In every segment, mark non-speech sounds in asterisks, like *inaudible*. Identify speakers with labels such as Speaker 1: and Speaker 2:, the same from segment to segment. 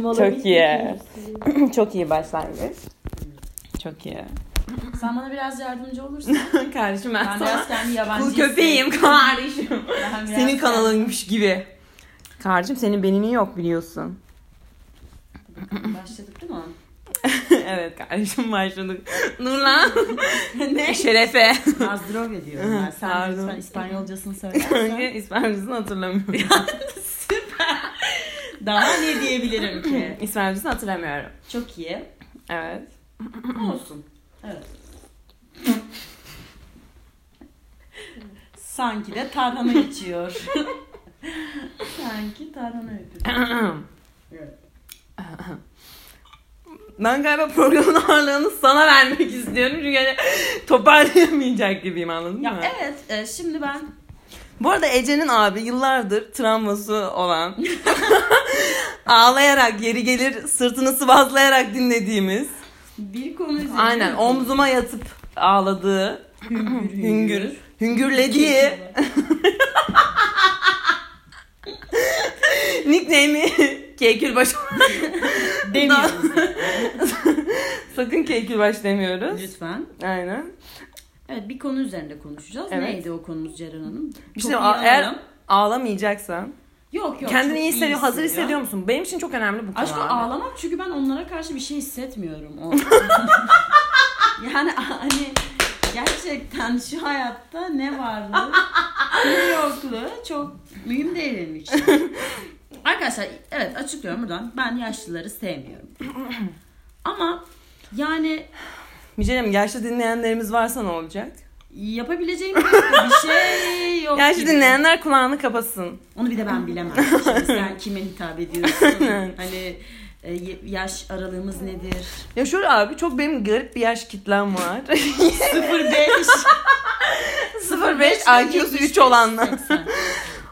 Speaker 1: Mola
Speaker 2: Çok
Speaker 1: bitmiş
Speaker 2: iyi.
Speaker 1: miyiz?
Speaker 2: *laughs* Çok iyi başlangıç. Çok iyi.
Speaker 3: Sen bana biraz yardımcı olursun.
Speaker 2: *laughs* kardeşim ben,
Speaker 3: Ben
Speaker 2: sana
Speaker 3: biraz kendi yabancı
Speaker 2: kul köpeğim kardeşim.
Speaker 3: Ben biraz
Speaker 2: Senin kanalınmış gibi. Kardeşim senin benini yok biliyorsun.
Speaker 3: Başladık değil mi?
Speaker 2: *laughs* evet kardeşim başladık. *laughs* Nurlan. *laughs* ne? Şerefe.
Speaker 3: Azdrovya diyorum ben. Sen
Speaker 2: Pardon.
Speaker 3: lütfen İspanyolcasını
Speaker 2: *laughs*
Speaker 3: söylersen.
Speaker 2: Önce İspanyolcasını hatırlamıyorum. *laughs*
Speaker 3: Daha ne diyebilirim ki?
Speaker 2: İspanyolcasını hatırlamıyorum.
Speaker 3: Çok iyi.
Speaker 2: *clears throat* Evet.
Speaker 3: Olsun. Evet. Sanki de
Speaker 2: *laughs*
Speaker 3: tarhana içiyor. Sanki tarhana öpüyor. Evet.
Speaker 2: ben galiba programın ağırlığını sana vermek istiyorum çünkü hani toparlayamayacak gibiyim anladın
Speaker 3: Ya
Speaker 2: mı?
Speaker 3: evet e, şimdi ben
Speaker 2: Bu arada Ece'nin abi yıllardır travması olan *laughs* ağlayarak geri gelir sırtını sıvazlayarak dinlediğimiz
Speaker 3: bir konu üzerine...
Speaker 2: aynen omzuma yatıp ağladığı hüngür hüngürlediği nickname'i *laughs*
Speaker 3: *laughs*
Speaker 2: Keykülbaş
Speaker 3: Demiyoruz.
Speaker 2: *laughs* sakın Keykülbaş demiyoruz
Speaker 3: Lütfen.
Speaker 2: aynen
Speaker 3: Evet bir konu üzerinde konuşacağız.
Speaker 2: Evet.
Speaker 3: Neydi o konumuz Ceren Hanım?
Speaker 2: Bir
Speaker 3: Çok
Speaker 2: şey
Speaker 3: iyi
Speaker 2: a- eğer
Speaker 3: anlam.
Speaker 2: ağlamayacaksan
Speaker 3: Yok yok.
Speaker 2: kendini
Speaker 3: çok
Speaker 2: iyi hissediyor, hazır hissediyor musun? Benim için çok önemli bu konu.
Speaker 3: Aşkım
Speaker 2: abi.
Speaker 3: ağlamak çünkü ben onlara karşı bir şey hissetmiyorum. O- *laughs* yani hani gerçekten şu hayatta ne varlığı ne yokluğu çok mühim değil benim için. *laughs* Arkadaşlar evet açıklıyorum buradan. Ben yaşlıları sevmiyorum. Ama yani
Speaker 2: Micelim yaşlı dinleyenlerimiz varsa ne olacak?
Speaker 3: yapabileceğim bir şey yok.
Speaker 2: yaşlı
Speaker 3: gibi.
Speaker 2: dinleyenler kulağını kapatsın.
Speaker 3: Onu bir de ben bilemem. Şimdi
Speaker 2: *laughs*
Speaker 3: sen kime hitap ediyorsun? hani e, y- yaş aralığımız nedir?
Speaker 2: Ya şöyle abi çok benim garip bir yaş kitlem *laughs* var. *laughs*
Speaker 3: 05
Speaker 2: 05 IQ'su 3 olanlar.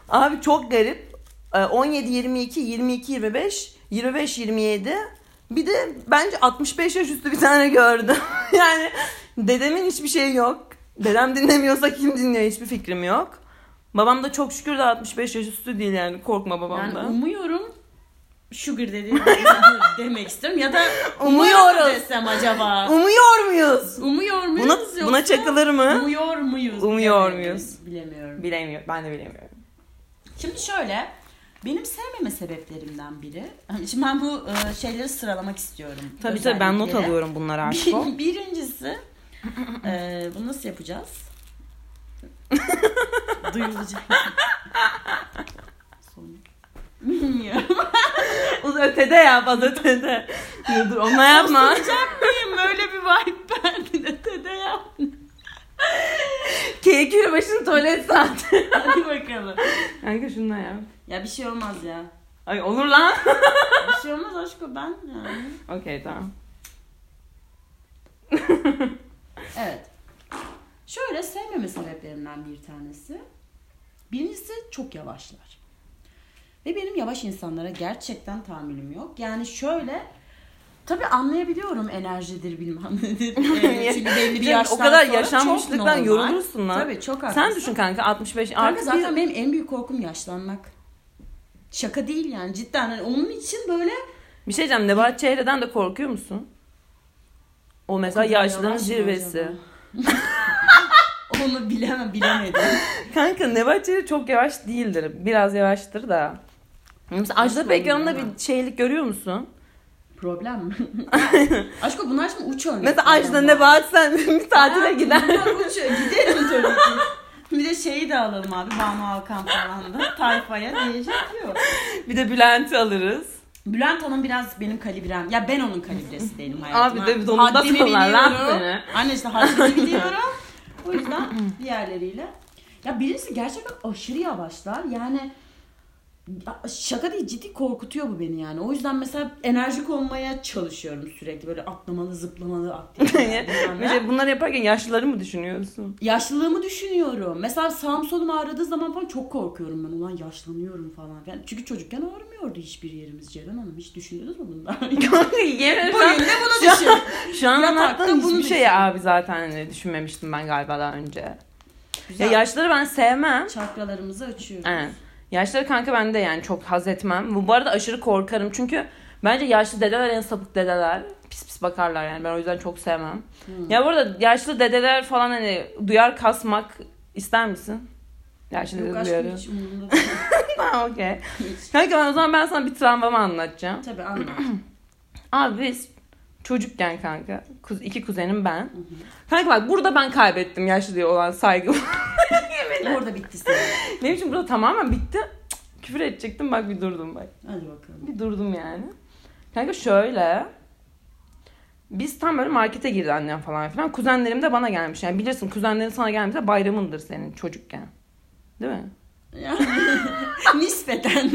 Speaker 2: Abi çok garip. Ee, 17 22 22 25 25 27 bir de bence 65 yaş üstü bir tane gördüm. *laughs* yani dedemin hiçbir şeyi yok. Dedem dinlemiyorsa kim dinliyor hiçbir fikrim yok. Babam da çok şükür de 65 yaş üstü değil yani um- korkma babamdan.
Speaker 3: Yani umuyorum sugar dedi demek istiyorum ya da
Speaker 2: Umuyoruz.
Speaker 3: desem acaba.
Speaker 2: Umuyor muyuz?
Speaker 3: Umuyor muyuz
Speaker 2: Buna,
Speaker 3: yoksa
Speaker 2: buna çakılır mı?
Speaker 3: umuyor muyuz?
Speaker 2: Umuyor
Speaker 3: Bilemiyorum.
Speaker 2: muyuz?
Speaker 3: Bilemiyorum.
Speaker 2: Bilemiyorum. Ben de bilemiyorum.
Speaker 3: Şimdi şöyle benim sevmeme sebeplerimden biri. Şimdi ben bu e, şeyleri sıralamak istiyorum.
Speaker 2: Tabii tabii ben not
Speaker 3: Özellikleri.
Speaker 2: alıyorum bunları artık. *laughs*
Speaker 3: Bir- *laughs* Birincisi e, bunu nasıl yapacağız? *laughs* Duyulacak. Son. Bilmiyorum.
Speaker 2: O da ötede ya fazla ötede. Dur, dur onunla yapma.
Speaker 3: Yapacak mıyım? Böyle bir vibe verdin. Ötede yap.
Speaker 2: Kekül başın tuvalet saati.
Speaker 3: Hadi bakalım.
Speaker 2: Kanka şununla yap.
Speaker 3: Ya bir şey olmaz ya.
Speaker 2: Ay olur lan.
Speaker 3: Bir şey olmaz aşkım ben yani.
Speaker 2: Okey tamam.
Speaker 3: Evet. Şöyle sevmeme sebeplerimden bir tanesi. Birincisi çok yavaşlar. Ve benim yavaş insanlara gerçekten tahammülüm yok. Yani şöyle Tabii anlayabiliyorum enerjidir bilmem
Speaker 2: *laughs*
Speaker 3: nedir. Ee, Çünkü belli bir
Speaker 2: Canım, o
Speaker 3: yaştan
Speaker 2: kadar
Speaker 3: sonra
Speaker 2: yaşanmışlıktan
Speaker 3: çok normal.
Speaker 2: yorulursun lan.
Speaker 3: Tabii çok haklısın.
Speaker 2: Sen düşün kanka 65
Speaker 3: Kanka
Speaker 2: artık
Speaker 3: zaten benim en büyük korkum yaşlanmak. Şaka değil yani cidden. Hani onun için böyle
Speaker 2: bir, bir şey diyeceğim. Nebahat Çehre'den de korkuyor musun? O mesela yaşlılığın
Speaker 3: Yavaş mı
Speaker 2: zirvesi.
Speaker 3: acaba? *laughs* Onu bilemem bilemedim.
Speaker 2: Kanka Nebahat Çehre çok yavaş değildir. Biraz yavaştır da. Mesela Ajda
Speaker 3: Nasıl
Speaker 2: Pekkan'da
Speaker 3: oluyor lan?
Speaker 2: bir şeylik görüyor musun? *laughs*
Speaker 3: Problem mi? Aşko bunlar şimdi uç örnek.
Speaker 2: Mesela Ajda Nebahat sen bir tatile gider. *laughs*
Speaker 3: uç giderim tabii ki. Bir de şeyi de alalım abi. Banu Hakan falan da tayfaya diyecek yok.
Speaker 2: Bir de Bülent'i alırız.
Speaker 3: Bülent Hanım biraz benim kalibrem. Ya ben onun kalibresi değilim
Speaker 2: Abi
Speaker 3: hayatım.
Speaker 2: de bir donunda
Speaker 3: Haddimi
Speaker 2: falan lan
Speaker 3: biliyorum.
Speaker 2: seni.
Speaker 3: Anne işte
Speaker 2: *laughs*
Speaker 3: haddini biliyorum. O yüzden diğerleriyle. Ya birincisi gerçekten aşırı yavaşlar. Yani ya şaka değil ciddi korkutuyor bu beni yani. O yüzden mesela enerjik olmaya çalışıyorum sürekli. Böyle atlamalı zıplamalı
Speaker 2: *laughs*
Speaker 3: aktiviteler. bilmem ne.
Speaker 2: Mesela şey, bunları yaparken yaşlıları mı düşünüyorsun?
Speaker 3: Yaşlılığımı düşünüyorum. Mesela sağım solum ağrıdığı zaman falan çok korkuyorum ben. Ulan yaşlanıyorum falan. Yani çünkü çocukken ağrımıyordu hiçbir yerimiz Ceren Hanım. Hiç düşündünüz mü bundan? *laughs*
Speaker 2: Kanka yemin
Speaker 3: Bu yönde bunu düşün.
Speaker 2: Şu an
Speaker 3: Yatakta
Speaker 2: anlattığım
Speaker 3: bunu
Speaker 2: hiçbir şeyi
Speaker 3: düşün.
Speaker 2: şey abi zaten hani düşünmemiştim ben galiba daha önce.
Speaker 3: Güzel.
Speaker 2: Ya yaşları ben sevmem.
Speaker 3: Çakralarımızı açıyoruz.
Speaker 2: Evet. Yaşları kanka ben de yani çok haz etmem. Bu bu arada aşırı korkarım çünkü bence yaşlı dedeler en sapık dedeler. Pis pis bakarlar yani ben o yüzden çok sevmem.
Speaker 3: Hmm.
Speaker 2: Ya bu arada yaşlı dedeler falan hani duyar kasmak ister misin? Yaşlı
Speaker 3: Yok
Speaker 2: dede
Speaker 3: aşkım
Speaker 2: duyarı.
Speaker 3: hiç umurumda değil.
Speaker 2: Ha okey.
Speaker 3: Hiç.
Speaker 2: Kanka ben o zaman ben sana bir travmamı anlatacağım.
Speaker 3: *laughs* Tabii anlat.
Speaker 2: Abi biz çocukken kanka kuz, iki kuzenim ben. Kanka bak burada ben kaybettim yaşlıya olan saygımı.
Speaker 3: Orada bitti senin.
Speaker 2: *laughs* Benim için burada tamamen bitti. Cık, Küfür edecektim bak bir durdum bak.
Speaker 3: Hadi bakalım.
Speaker 2: Bir durdum yani. Kanka şöyle. Biz tam böyle markete girdi annem falan filan. Kuzenlerim de bana gelmiş. Yani bilirsin kuzenlerin sana gelmişse bayramındır senin çocukken. Değil mi?
Speaker 3: Yani, *laughs* nispeten.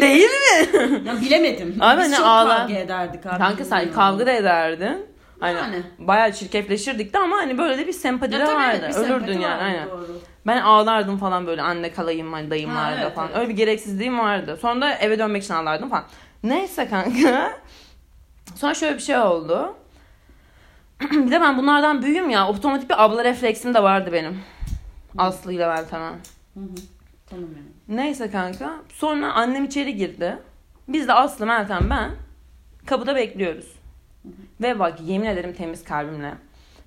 Speaker 2: Değil mi?
Speaker 3: ya bilemedim.
Speaker 2: Abi
Speaker 3: Biz
Speaker 2: ne
Speaker 3: çok
Speaker 2: ağla-
Speaker 3: kavga ederdik abi.
Speaker 2: Kanka sen
Speaker 3: bilmiyorum.
Speaker 2: kavga da ederdin. Hani
Speaker 3: Yani.
Speaker 2: bayağı çirkefleşirdik de ama hani böyle de bir sempati
Speaker 3: Ya
Speaker 2: de
Speaker 3: tabii,
Speaker 2: vardı.
Speaker 3: bir sempati
Speaker 2: Ölürdün yani.
Speaker 3: vardı,
Speaker 2: Aynen.
Speaker 3: doğru.
Speaker 2: Ben ağlardım falan böyle anne kalayım hani dayımlarda
Speaker 3: Ha, evet,
Speaker 2: falan.
Speaker 3: evet.
Speaker 2: Öyle bir gereksizliğim vardı. Sonra da eve dönmek için ağlardım falan. Neyse kanka. Sonra şöyle bir şey oldu. *clears throat* bir de ben bunlardan büyüğüm ya. Otomatik bir abla refleksim de vardı benim. Aslı ile Meltem'e.
Speaker 3: Hı hı. Tanımıyorum.
Speaker 2: Neyse kanka. Sonra annem içeri girdi. Biz de Aslı, Meltem, ben kapıda bekliyoruz. Ve bak yemin ederim temiz kalbimle.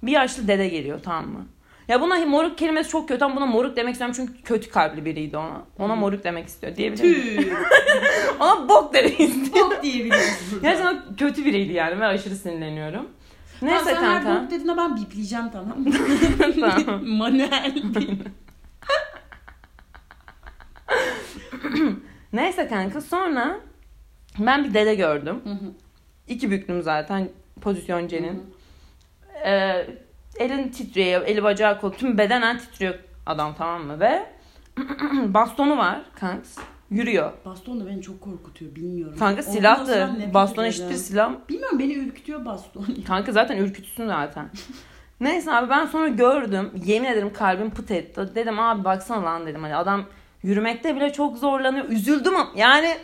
Speaker 2: Bir yaşlı dede geliyor tamam mı? Ya buna moruk kelimesi çok kötü ama buna moruk demek istiyorum çünkü kötü kalpli biriydi ona. Ona moruk demek istiyor diyebilir miyim?
Speaker 3: Tüh.
Speaker 2: Ona bok demeyiz. *laughs*
Speaker 3: Bok diyebiliriz burada.
Speaker 2: Gerçekten o kötü biriydi yani ben aşırı sinirleniyorum.
Speaker 3: Tamam,
Speaker 2: Neyse
Speaker 3: sen her
Speaker 2: kanka.
Speaker 3: bok dediğinde ben bipleyeceğim tamam
Speaker 2: *laughs*
Speaker 3: mı?
Speaker 2: Tamam.
Speaker 3: Manuel.
Speaker 2: Neyse kanka sonra ben bir dede gördüm.
Speaker 3: Hı hı.
Speaker 2: İki büklüm zaten pozisyon Cenin. Ee, elin titriyor, eli bacağı kolu. Tüm bedenen titriyor adam tamam mı? Ve *clears throat* bastonu var kanks. Yürüyor.
Speaker 3: Baston da beni çok korkutuyor bilmiyorum.
Speaker 2: Kanka
Speaker 3: Ondan
Speaker 2: silahtı.
Speaker 3: sonra nefret
Speaker 2: Baston
Speaker 3: ederim.
Speaker 2: eşittir silah.
Speaker 3: Bilmiyorum beni ürkütüyor baston.
Speaker 2: Kanka zaten ürkütsün zaten. Neyse abi ben sonra gördüm. Yemin ederim kalbim pıt etti. Dedim abi baksana lan dedim. Hani adam yürümekte bile çok zorlanıyor. Üzüldüm ama- yani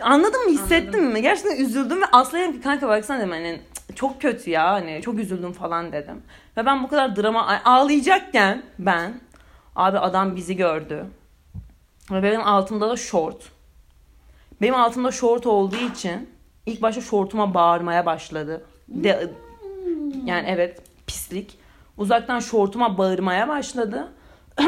Speaker 2: anladın mı hissettim
Speaker 3: Anladım.
Speaker 2: mi? Gerçekten üzüldüm ve Aslı'ya dedim ki kanka baksana dedim hani "Cık, çok kötü ya hani çok üzüldüm falan dedim. Ve ben bu kadar drama ay- ağlayacakken ben abi adam bizi gördü. Ve benim altımda da şort. Benim altımda şort olduğu için ilk başta şortuma bağırmaya başladı. De, yani evet pislik. Uzaktan şortuma bağırmaya başladı. *clears throat*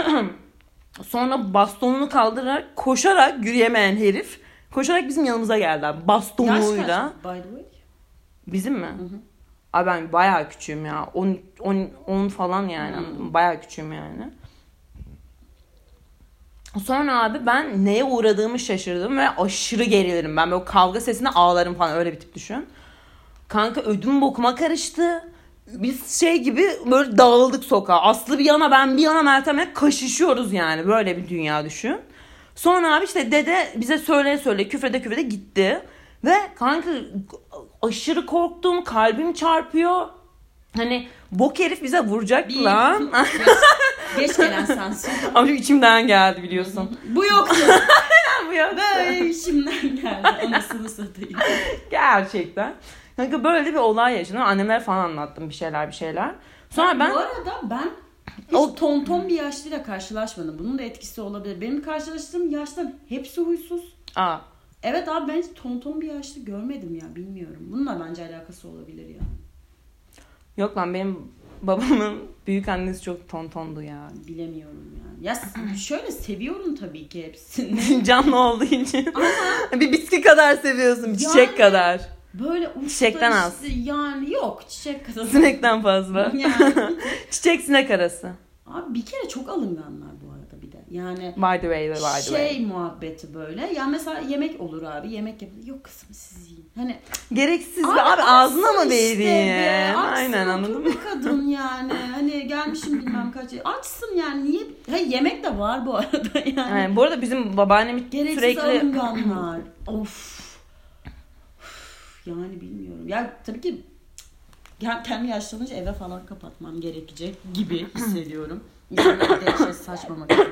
Speaker 2: Sonra bastonunu kaldırarak koşarak yürüyemeyen herif koşarak bizim yanımıza geldi. abi.
Speaker 3: Yaş
Speaker 2: Bastonuyla.
Speaker 3: kaç by the way?
Speaker 2: Bizim mi? Abi ben bayağı küçüğüm ya. 10 10 10 falan yani. anladın mı? Bayağı küçüğüm yani. Sonra abi ben neye uğradığımı şaşırdım ve aşırı gerilirim. Ben böyle kavga sesine ağlarım falan öyle bir tip düşün. Kanka ödüm bokuma karıştı. Biz şey gibi böyle dağıldık sokağa. Aslı bir yana ben bir yana Meltem'le kaşışıyoruz yani. Böyle bir dünya düşün. Sonra abi işte dede bize söyle söyle küfrede küfrede gitti. Ve kanka aşırı korktum. Kalbim çarpıyor. Hani bok herif bize vuracak
Speaker 3: Bir- *laughs*
Speaker 2: lan.
Speaker 3: Geç, geç gelen sensin.
Speaker 2: Ama çünkü içimden geldi biliyorsun.
Speaker 3: Bu yoktu.
Speaker 2: *laughs* Bu ya-
Speaker 3: Böyle şimdiden geldi. Anasını satayım.
Speaker 2: Gerçekten. Kanka böyle bir olay yaşadım. Annemler falan anlattım bir şeyler bir şeyler. Sonra ben
Speaker 3: Bu arada ben hiç
Speaker 2: O-
Speaker 3: tonton bir yaşlıyla karşılaşmadım. Bunun da etkisi olabilir. Benim karşılaştığım yaştan hepsi huysuz.
Speaker 2: Aa,
Speaker 3: Evet abi ben hiç tonton bir yaşlı görmedim ya bilmiyorum. Bununla bence alakası olabilir ya.
Speaker 2: yok lan benim babamın büyük annesi çok tontondu ya. *laughs*
Speaker 3: Bilemiyorum yani. Ya s- şöyle seviyorum tabii ki hepsini.
Speaker 2: Canlı olduğu için. *laughs* bir bitki kadar seviyorsun. bir Çiçek
Speaker 3: Yani.
Speaker 2: kadar.
Speaker 3: Böyle uçta
Speaker 2: Çiçekten
Speaker 3: işte
Speaker 2: az.
Speaker 3: yani yok
Speaker 2: *laughs*
Speaker 3: çiçek kadar.
Speaker 2: Sinekten fazla.
Speaker 3: Yani.
Speaker 2: *laughs* Çiçek sinek arası.
Speaker 3: Abi bir kere çok alınganlar bu arada bir de. Yani
Speaker 2: By the way ve by the way.
Speaker 3: şey muhabbeti böyle. Ya mesela yemek olur abi. Yemek yapılır. Yok kızım siz yiyin. Hani
Speaker 2: Gereksiz
Speaker 3: Abi
Speaker 2: be abi ağzına
Speaker 3: açsın
Speaker 2: mı
Speaker 3: işte
Speaker 2: vereyim?
Speaker 3: be, açsın,
Speaker 2: Aynen
Speaker 3: otur
Speaker 2: anladın mı?
Speaker 3: be
Speaker 2: *laughs*
Speaker 3: kadın yani. Hani gelmişim bilmem kaç. Açsın yani. Niye? Ha, yemek de var bu arada *laughs* yani.
Speaker 2: Aynen. Bu arada bizim babaannem
Speaker 3: Gereksiz
Speaker 2: sürekli
Speaker 3: alınganlar. of. Üf, Yani bilmiyorum. Ya tabii ki ya kendi yaşlanınca eve falan kapatmam gerekecek gibi hissediyorum. Yani bir de şey saçmamak için.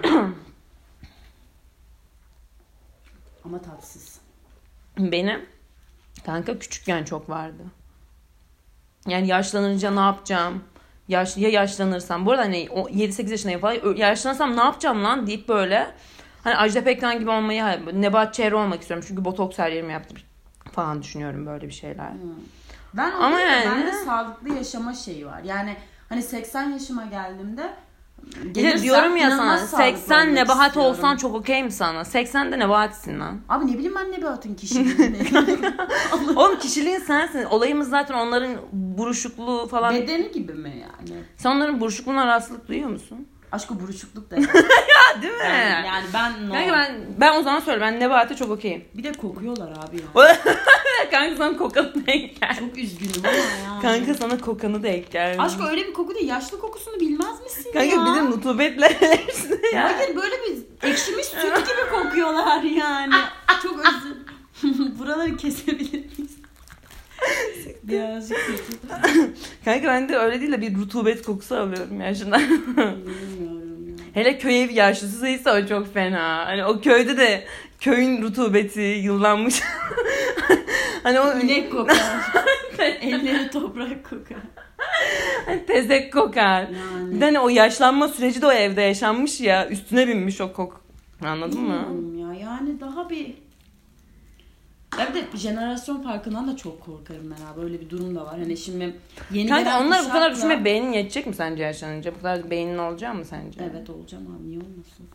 Speaker 3: Ama tatsız.
Speaker 2: Benim kanka küçükken çok vardı. Yani yaşlanınca ne yapacağım? Yaş, ya yaşlanırsam. Bu arada hani o 7-8 yaşındayım falan. Ö- Yaşlanırsam ne yapacağım lan deyip böyle. Hani Ajda Pekkan gibi olmayı, hayır, Nebahat Çehre olmak istiyorum. Çünkü botoks her yerime yaptım falan düşünüyorum böyle bir şeyler.
Speaker 3: Hmm. Ben
Speaker 2: Ama
Speaker 3: Ama
Speaker 2: yani-
Speaker 3: bende sağlıklı yaşama şeyi var. Yani hani 80 yaşıma geldiğimde
Speaker 2: Bir de
Speaker 3: gelirsem
Speaker 2: diyorum ya sana
Speaker 3: inanılmaz sağlıklı
Speaker 2: 80
Speaker 3: olmak
Speaker 2: Nebahat
Speaker 3: istiyorum.
Speaker 2: olsan çok okey mi sana? 80 de Nebahat'sin lan. *laughs*
Speaker 3: Abi ne bileyim ben Nebahat'ın kişiliğini.
Speaker 2: Oğlum kişiliğin sensin. Olayımız zaten onların buruşukluğu falan.
Speaker 3: Bedeni gibi mi yani?
Speaker 2: Sen onların buruşukluğuna rahatsızlık duyuyor musun?
Speaker 3: Aşkı
Speaker 2: *laughs*
Speaker 3: buruşukluk da yani.
Speaker 2: Ha değil mi?
Speaker 3: yani, yani ben no.
Speaker 2: Kanka ben, ben o zaman söyle ben Nebahat'e çok
Speaker 3: *laughs*
Speaker 2: okeyim.
Speaker 3: Bir de kokuyorlar abi ya.
Speaker 2: Kanka sana kokanı da ek gel.
Speaker 3: Çok üzgünüm ama yani.
Speaker 2: Kanka sana kokanı da ek gel.
Speaker 3: Aşk öyle bir koku değil. Yaşlı kokusunu bilmez misin ya?
Speaker 2: Kanka bir de nutubetle hepsini ya.
Speaker 3: Hayır böyle bir ekşimiş süt gibi kokuyorlar yani. Çok özür. *laughs* Buraları kesebilir miyiz? Birazcık kötü.
Speaker 2: *laughs* Kanka ben de öyle değil de bir rutubet kokusu alıyorum ya şundan.
Speaker 3: Bilmiyorum ya.
Speaker 2: *laughs* Hele köy ev yaşlısıysa o çok fena. Hani o köyde de köyün rutubeti yıllanmış. *laughs* hani o *laughs*
Speaker 3: İnek kokar. Elleri toprak kokar.
Speaker 2: tezek kokar. Bir de
Speaker 3: Yani.
Speaker 2: hani o yaşlanma süreci de o evde yaşanmış ya. Üstüne binmiş o koku. Anladın mı?
Speaker 3: Bilmiyorum ya. Yani daha bir ya bir de jenerasyon farkından da çok korkarım ben abi. Öyle bir durum da var. Hani şimdi yeni
Speaker 2: Kanka
Speaker 3: gelen
Speaker 2: onlar bu kadar
Speaker 3: kuşakla-
Speaker 2: düşünme beynin yetecek mi sence yaşlanınca? Bu kadar beynin olacak mı sence?
Speaker 3: Evet olacağım abi. Niye olmasın?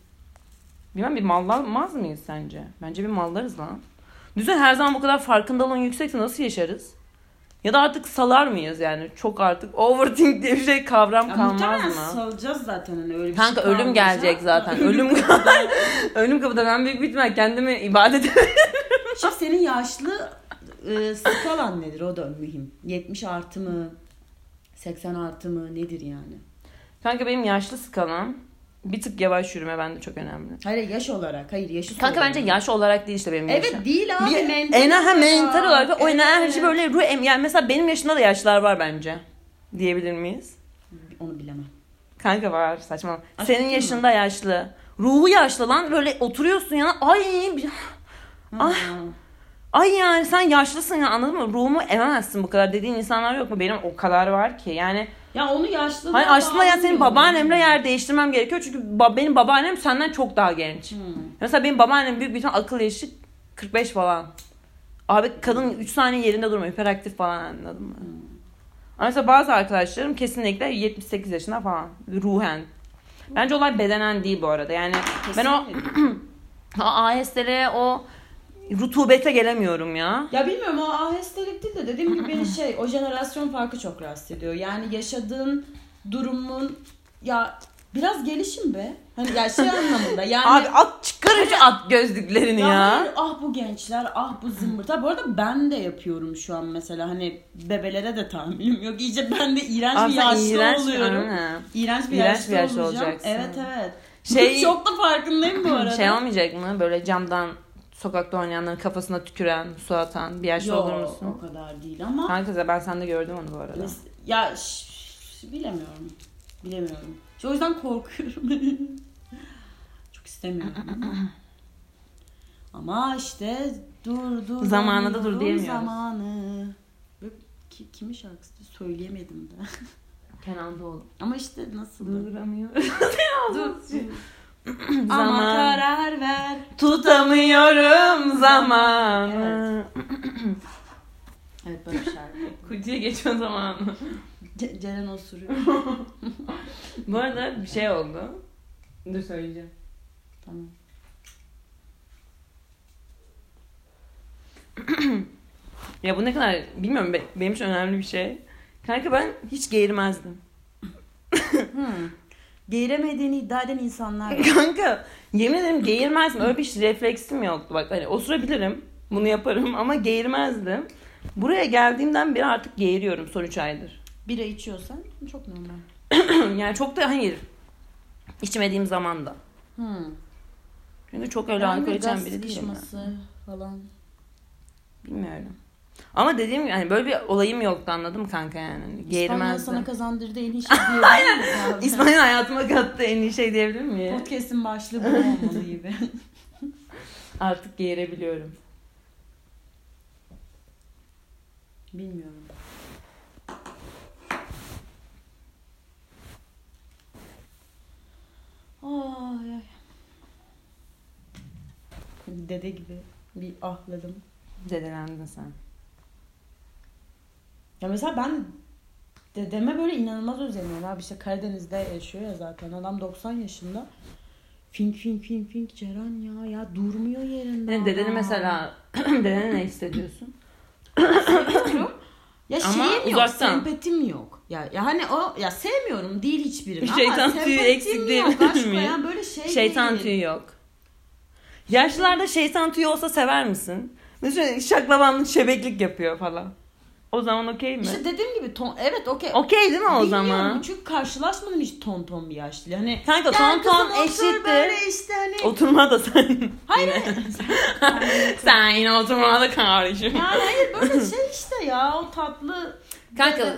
Speaker 2: Bilmem bir mallamaz mıyız sence? Bence bir mallarız lan. Düzen her zaman bu kadar farkındalığın yüksekse nasıl yaşarız? Ya da artık salar mıyız yani? Çok artık overthink diye bir şey kavram
Speaker 3: Ya
Speaker 2: kalmaz
Speaker 3: muhtemelen
Speaker 2: mı?
Speaker 3: salacağız zaten hani öyle bir
Speaker 2: Kanka
Speaker 3: şey
Speaker 2: ölüm
Speaker 3: kalmayacak.
Speaker 2: gelecek zaten. ölüm *laughs* ölüm kapıda ben büyük bir ihtimal kendimi ibadet
Speaker 3: *laughs* Şimdi senin yaşlı e, skalan nedir? O da mühim. 70 artı mı? 80 artı mı? Nedir yani?
Speaker 2: Kanka benim yaşlı skalam bir tık yavaş yürüme bende çok önemli.
Speaker 3: Hayır yaş olarak. Hayır yaşı
Speaker 2: Kanka
Speaker 3: soruyorum.
Speaker 2: bence yaş olarak değil işte benim yaşım.
Speaker 3: Evet değil abi.
Speaker 2: Bir-
Speaker 3: mental
Speaker 2: Enerji
Speaker 3: olarak.
Speaker 2: mental olarak o
Speaker 3: Evet.
Speaker 2: enerji böyle ruh em yani mesela benim yaşımda da yaşlar var bence. Diyebilir miyiz?
Speaker 3: Onu bilemem.
Speaker 2: Kanka var saçma.
Speaker 3: Aşk
Speaker 2: Senin
Speaker 3: değil mi?
Speaker 2: yaşında yaşlı. Ruhu yaşlı lan böyle oturuyorsun ya ay bir- Ah.
Speaker 3: Ha.
Speaker 2: ay yani sen yaşlısın ya anladın mı? Ruhumu ememezsin bu kadar dediğin insanlar yok mu? Benim o kadar var ki yani.
Speaker 3: Ya onu yaşlı.
Speaker 2: Hani aslında ya senin babaannemle yer değiştirmem gerekiyor çünkü ba- benim babaannem senden çok daha genç.
Speaker 3: Hmm.
Speaker 2: Mesela benim babaannem büyük bir ihtimal akıl yaşı 45 falan. Abi kadın 3 saniye yerinde durmuyor. Hiperaktif falan anladın
Speaker 3: Hmm.
Speaker 2: mı? Ama mesela bazı arkadaşlarım kesinlikle 78 yaşında falan. Ruhen. Bence olay bedenen değil bu arada. Yani ben o *clears throat* AS'lere o rutubete gelemiyorum ya.
Speaker 3: Ya bilmiyorum o ahestelik değil de dediğim
Speaker 2: *clears throat*
Speaker 3: gibi beni şey o jenerasyon farkı çok rahatsız ediyor. Yani yaşadığın durumun ya biraz gelişim be. Hani ya şey
Speaker 2: *laughs*
Speaker 3: anlamında yani.
Speaker 2: Abi at çıkarın şu at gözlüklerini ya.
Speaker 3: hayır, ah bu gençler ah bu zımbırta. Bu arada ben de yapıyorum şu an mesela hani bebelere de tahammülüm yok. İyice ben de iğrenç
Speaker 2: Abi
Speaker 3: bir
Speaker 2: sen
Speaker 3: yaşlı
Speaker 2: iğrenç-
Speaker 3: oluyorum.
Speaker 2: Aynen.
Speaker 3: İğrenç bir
Speaker 2: İğrenç
Speaker 3: yaşlı,
Speaker 2: bir yaşlı
Speaker 3: olacağım.
Speaker 2: olacaksın.
Speaker 3: Evet evet.
Speaker 2: Şey-
Speaker 3: *laughs* Çok da farkındayım bu
Speaker 2: *clears throat*
Speaker 3: arada.
Speaker 2: Şey olmayacak mı? Böyle camdan sokakta oynayanların kafasına tüküren, su atan bir yaşlı
Speaker 3: Yok,
Speaker 2: olur musun?
Speaker 3: o kadar değil ama.
Speaker 2: Kanka ben sende gördüm onu bu arada.
Speaker 3: Mes- Ya ş- bilemiyorum. Bilemiyorum. İşte o yüzden korkuyorum. *laughs* Çok istemiyorum. Ama işte dur dur.
Speaker 2: Zamanı da dur
Speaker 3: dur
Speaker 2: diyemiyoruz.
Speaker 3: Zamanı. Böyle ki- Kimin şarkısı söyleyemedim de. *laughs*
Speaker 2: Kenan Doğulu.
Speaker 3: Ama işte nasıl? Dur.
Speaker 2: Duramıyorum. *laughs*
Speaker 3: dur. Ama
Speaker 2: Zaman.
Speaker 3: karar ver.
Speaker 2: Tutamıyorum zamanı.
Speaker 3: Evet böyle bir *laughs* şarkı.
Speaker 2: Kutuya geçme zamanı.
Speaker 3: Ce-
Speaker 2: *laughs*
Speaker 3: Ceren osuruyor.
Speaker 2: Bu arada bir şey oldu. Dur söyleyeceğim.
Speaker 3: tamam.
Speaker 2: Ya bu ne kadar bilmiyorum be- benim için önemli bir şey. Kanka ben hiç geğirmezdim.
Speaker 3: Hmm. Geğiremediğini iddia eden insanlar. var.
Speaker 2: Kanka yemin ederim geğirmezdim. Öyle bir refleksim yoktu. Bak hani osurabilirim. Bunu yaparım ama geğirmezdim. Buraya geldiğimden beri artık geğiriyorum son 3 aydır.
Speaker 3: Bira içiyorsan çok normal.
Speaker 2: *clears throat* yani çok da hayır. içmediğim zaman da.
Speaker 3: Hmm.
Speaker 2: Çünkü çok öyle
Speaker 3: Yani
Speaker 2: alkol içen
Speaker 3: gaz
Speaker 2: biri değilim. ben.
Speaker 3: sıkışması falan.
Speaker 2: Bilmiyorum. Ama dediğim gibi hani böyle bir olayım yoktu anladım kanka yani. Hani
Speaker 3: İspanya
Speaker 2: Geğirmezdim.
Speaker 3: sana kazandırdı en *laughs* iyi şey diyebilir miyiz abi?
Speaker 2: İspanya hayatıma kattı en iyi şey diyebilir miyim?
Speaker 3: Podcast'in başlığı bu olmalı *laughs* gibi.
Speaker 2: Artık geğirebiliyorum.
Speaker 3: Bilmiyorum. dede gibi bir ahladım.
Speaker 2: Dedelendin sen.
Speaker 3: Ya mesela ben dedeme böyle inanılmaz özeniyorum abi işte Karadeniz'de yaşıyor ya zaten adam 90 yaşında. Fink fink fink fink Ceren ya ya durmuyor yerinde.
Speaker 2: Yani Hani dedeni
Speaker 3: adam.
Speaker 2: mesela *clears throat* dedene ne hissediyorsun?
Speaker 3: Seviyorum. Ya
Speaker 2: Ama
Speaker 3: şeyim yok,
Speaker 2: uzaktan.
Speaker 3: sempatim yok. Ya, ya hani o ya sevmiyorum değil hiçbirini
Speaker 2: Şeytan
Speaker 3: ama
Speaker 2: tüyü
Speaker 3: sempatim
Speaker 2: eksik
Speaker 3: yok.
Speaker 2: değil
Speaker 3: Aşk
Speaker 2: mi?
Speaker 3: bayağı böyle şey
Speaker 2: Şeytan
Speaker 3: değil.
Speaker 2: tüyü yok. Yaşlılarda şeytan tüyü olsa sever misin? Mesela şaklabanlık şebeklik yapıyor falan. O zaman okey mi?
Speaker 3: İşte dediğim gibi ton, evet okey.
Speaker 2: Okey değil mi o
Speaker 3: Bilmiyorum,
Speaker 2: zaman?
Speaker 3: Çünkü karşılaşmadım hiç ton ton bir yaşlı. Hani
Speaker 2: Kanka ton
Speaker 3: kızım
Speaker 2: ton
Speaker 3: otur
Speaker 2: eşittir.
Speaker 3: Böyle işte hani.
Speaker 2: Oturma da sen.
Speaker 3: Hayır hayır.
Speaker 2: *laughs* sen yine oturma da kardeşim.
Speaker 3: yani hayır böyle şey işte ya o tatlı.
Speaker 2: Kanka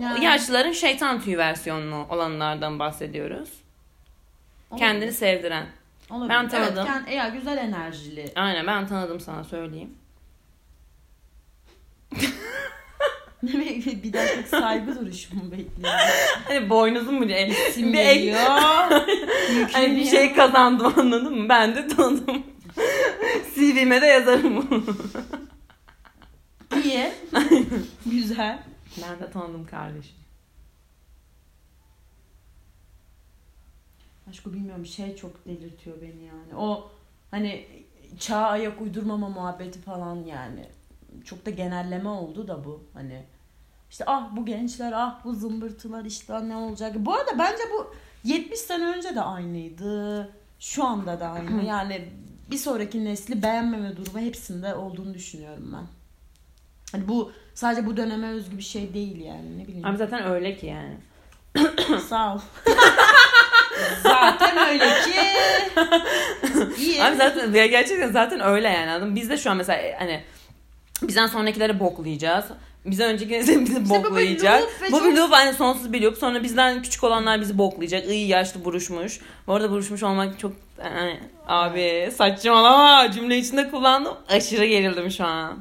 Speaker 3: Yani-
Speaker 2: yaşlıların şeytan tüyü versiyonlu olanlardan bahsediyoruz. Kendini sevdiren.
Speaker 3: Olabilir.
Speaker 2: ben tanıdım.
Speaker 3: Evet, kend- ya güzel enerjili.
Speaker 2: Aynen ben tanıdım sana söyleyeyim.
Speaker 3: *laughs* Ne bekliyor? bir dakika saygı duruşumu bekliyor.
Speaker 2: Hani boynuzum mu *laughs* diye.
Speaker 3: Kim
Speaker 2: Bir ek-
Speaker 3: geliyor? *laughs*
Speaker 2: Hani bir şey kazandım anladın mı? Ben de tanıdım. *laughs* CV'me de yazarım bunu.
Speaker 3: İyi. *laughs* güzel.
Speaker 2: Ben de tanıdım kardeşim.
Speaker 3: Aşkı bilmiyorum şey çok delirtiyor beni yani. O hani çağa ayak uydurmama muhabbeti falan yani. Çok da genelleme oldu da bu hani. İşte ah bu gençler ah bu zımbırtılar işte ah, ne olacak. Bu arada bence bu 70 sene önce de aynıydı. Şu anda da aynı. Yani bir sonraki nesli beğenmeme durumu hepsinde olduğunu düşünüyorum ben. Hani bu sadece bu döneme özgü bir şey değil yani ne bileyim.
Speaker 2: Abi zaten öyle ki yani.
Speaker 3: Sağ ol. Zaten öyle
Speaker 2: *laughs*
Speaker 3: ki. İyi.
Speaker 2: Abi zaten ya gerçekten zaten öyle yani anladın mı? Biz de şu an mesela e, hani bizden sonrakilere boklayacağız. Bizden öncekileri de *laughs* bizi
Speaker 3: bu bir
Speaker 2: boklayacak.
Speaker 3: loop ve
Speaker 2: Bu
Speaker 3: çok-
Speaker 2: bir loop hani sonsuz bir loop. Sonra bizden küçük olanlar bizi boklayacak. İyi yaşlı buruşmuş. Bu arada buruşmuş olmak çok yani, abi saçmalama cümle içinde kullandım. Aşırı gerildim şu an.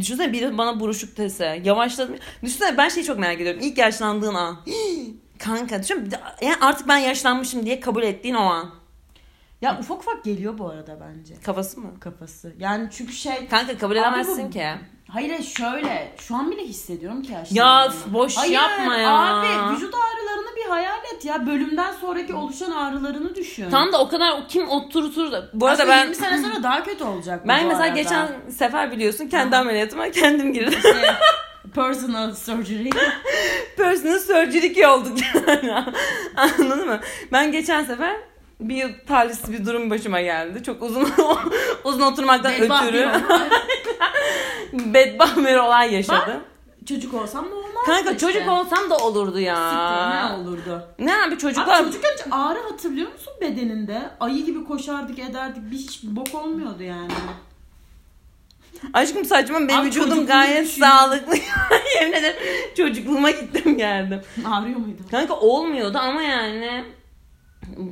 Speaker 2: Düşünsene biri bana buruşuk dese. Yavaşladım. Düşünsene ben şeyi çok merak ediyorum. İlk yaşlandığın an. *gasps* Kanka düşün yani artık ben yaşlanmışım diye kabul ettiğin o an.
Speaker 3: Ya ufak ufak geliyor bu arada bence
Speaker 2: Kafası mı?
Speaker 3: kafası. Yani çünkü şey
Speaker 2: Kanka kabul
Speaker 3: Abi
Speaker 2: edemezsin
Speaker 3: bu-
Speaker 2: ki.
Speaker 3: hayır şöyle şu an bile hissediyorum ki yaşlı.
Speaker 2: Ya f- boş yapma ya.
Speaker 3: Abi vücut ağrılarını bir hayal et ya. Bölümden sonraki oluşan ağrılarını düşün.
Speaker 2: Tam da o kadar kim oturtur da. Bu arada
Speaker 3: Aslında
Speaker 2: ben
Speaker 3: 20 sene sonra daha kötü olacak bu
Speaker 2: ben
Speaker 3: bu
Speaker 2: mesela
Speaker 3: arada.
Speaker 2: geçen sefer biliyorsun kendi ameliyatıma kendim girdim. *laughs*
Speaker 3: Şey, personal surgery.
Speaker 2: Personal surgery olduk *laughs* yani. Anladın mı? Ben geçen sefer bir talihsiz bir durum başıma geldi. Çok uzun *laughs* uzun oturmaktan
Speaker 3: Bedbaht
Speaker 2: ötürü *laughs*
Speaker 3: bir olay.
Speaker 2: bedbaht bir olay yaşadım.
Speaker 3: Çocuk olsam da olmaz.
Speaker 2: Kanka
Speaker 3: işte.
Speaker 2: çocuk olsam da olurdu ya.
Speaker 3: Siktir, ne olurdu?
Speaker 2: Ne abi çocuklar
Speaker 3: Abi çocukken hiç ağrı hatırlıyor musun bedeninde? Ayı gibi koşardık ederdik bir hiç bok olmuyordu yani. *laughs*
Speaker 2: Aşkım saçma benim
Speaker 3: Abi
Speaker 2: vücudum
Speaker 3: çocukluğunu
Speaker 2: gayet
Speaker 3: düşünüyorum.
Speaker 2: sağlıklı. *laughs* Yemin ederim çocukluğuma gittim geldim.
Speaker 3: Ağrıyor muydu?
Speaker 2: Kanka olmuyordu ama yani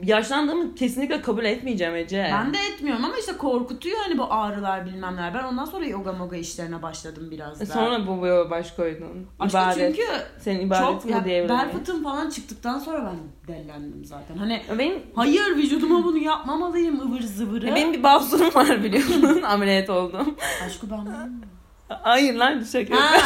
Speaker 2: yaşlandığımı kesinlikle kabul etmeyeceğim Ece.
Speaker 3: Ben de etmiyorum ama işte korkutuyor hani bu ağrılar bilmemler. Ben ondan sonra yoga moga işlerine başladım biraz
Speaker 2: E
Speaker 3: daha.
Speaker 2: Sonra bu bu baş koydun.
Speaker 3: Aşkı
Speaker 2: İbadet.
Speaker 3: çünkü
Speaker 2: Senin ibadet
Speaker 3: çok
Speaker 2: mi
Speaker 3: ya,
Speaker 2: diyebilir
Speaker 3: bel
Speaker 2: miyim?
Speaker 3: fıtığım falan çıktıktan sonra ben dellendim zaten. Hani
Speaker 2: Benim,
Speaker 3: hayır
Speaker 2: *laughs*
Speaker 3: vücuduma bunu yapmamalıyım ıvır zıvırı.
Speaker 2: E benim bir bafsunum var biliyorsun. *laughs* Ameliyat oldum. *laughs*
Speaker 3: Aşkı ben bunu-
Speaker 2: Hayır lan şaka. yapıyorum.
Speaker 3: Ha,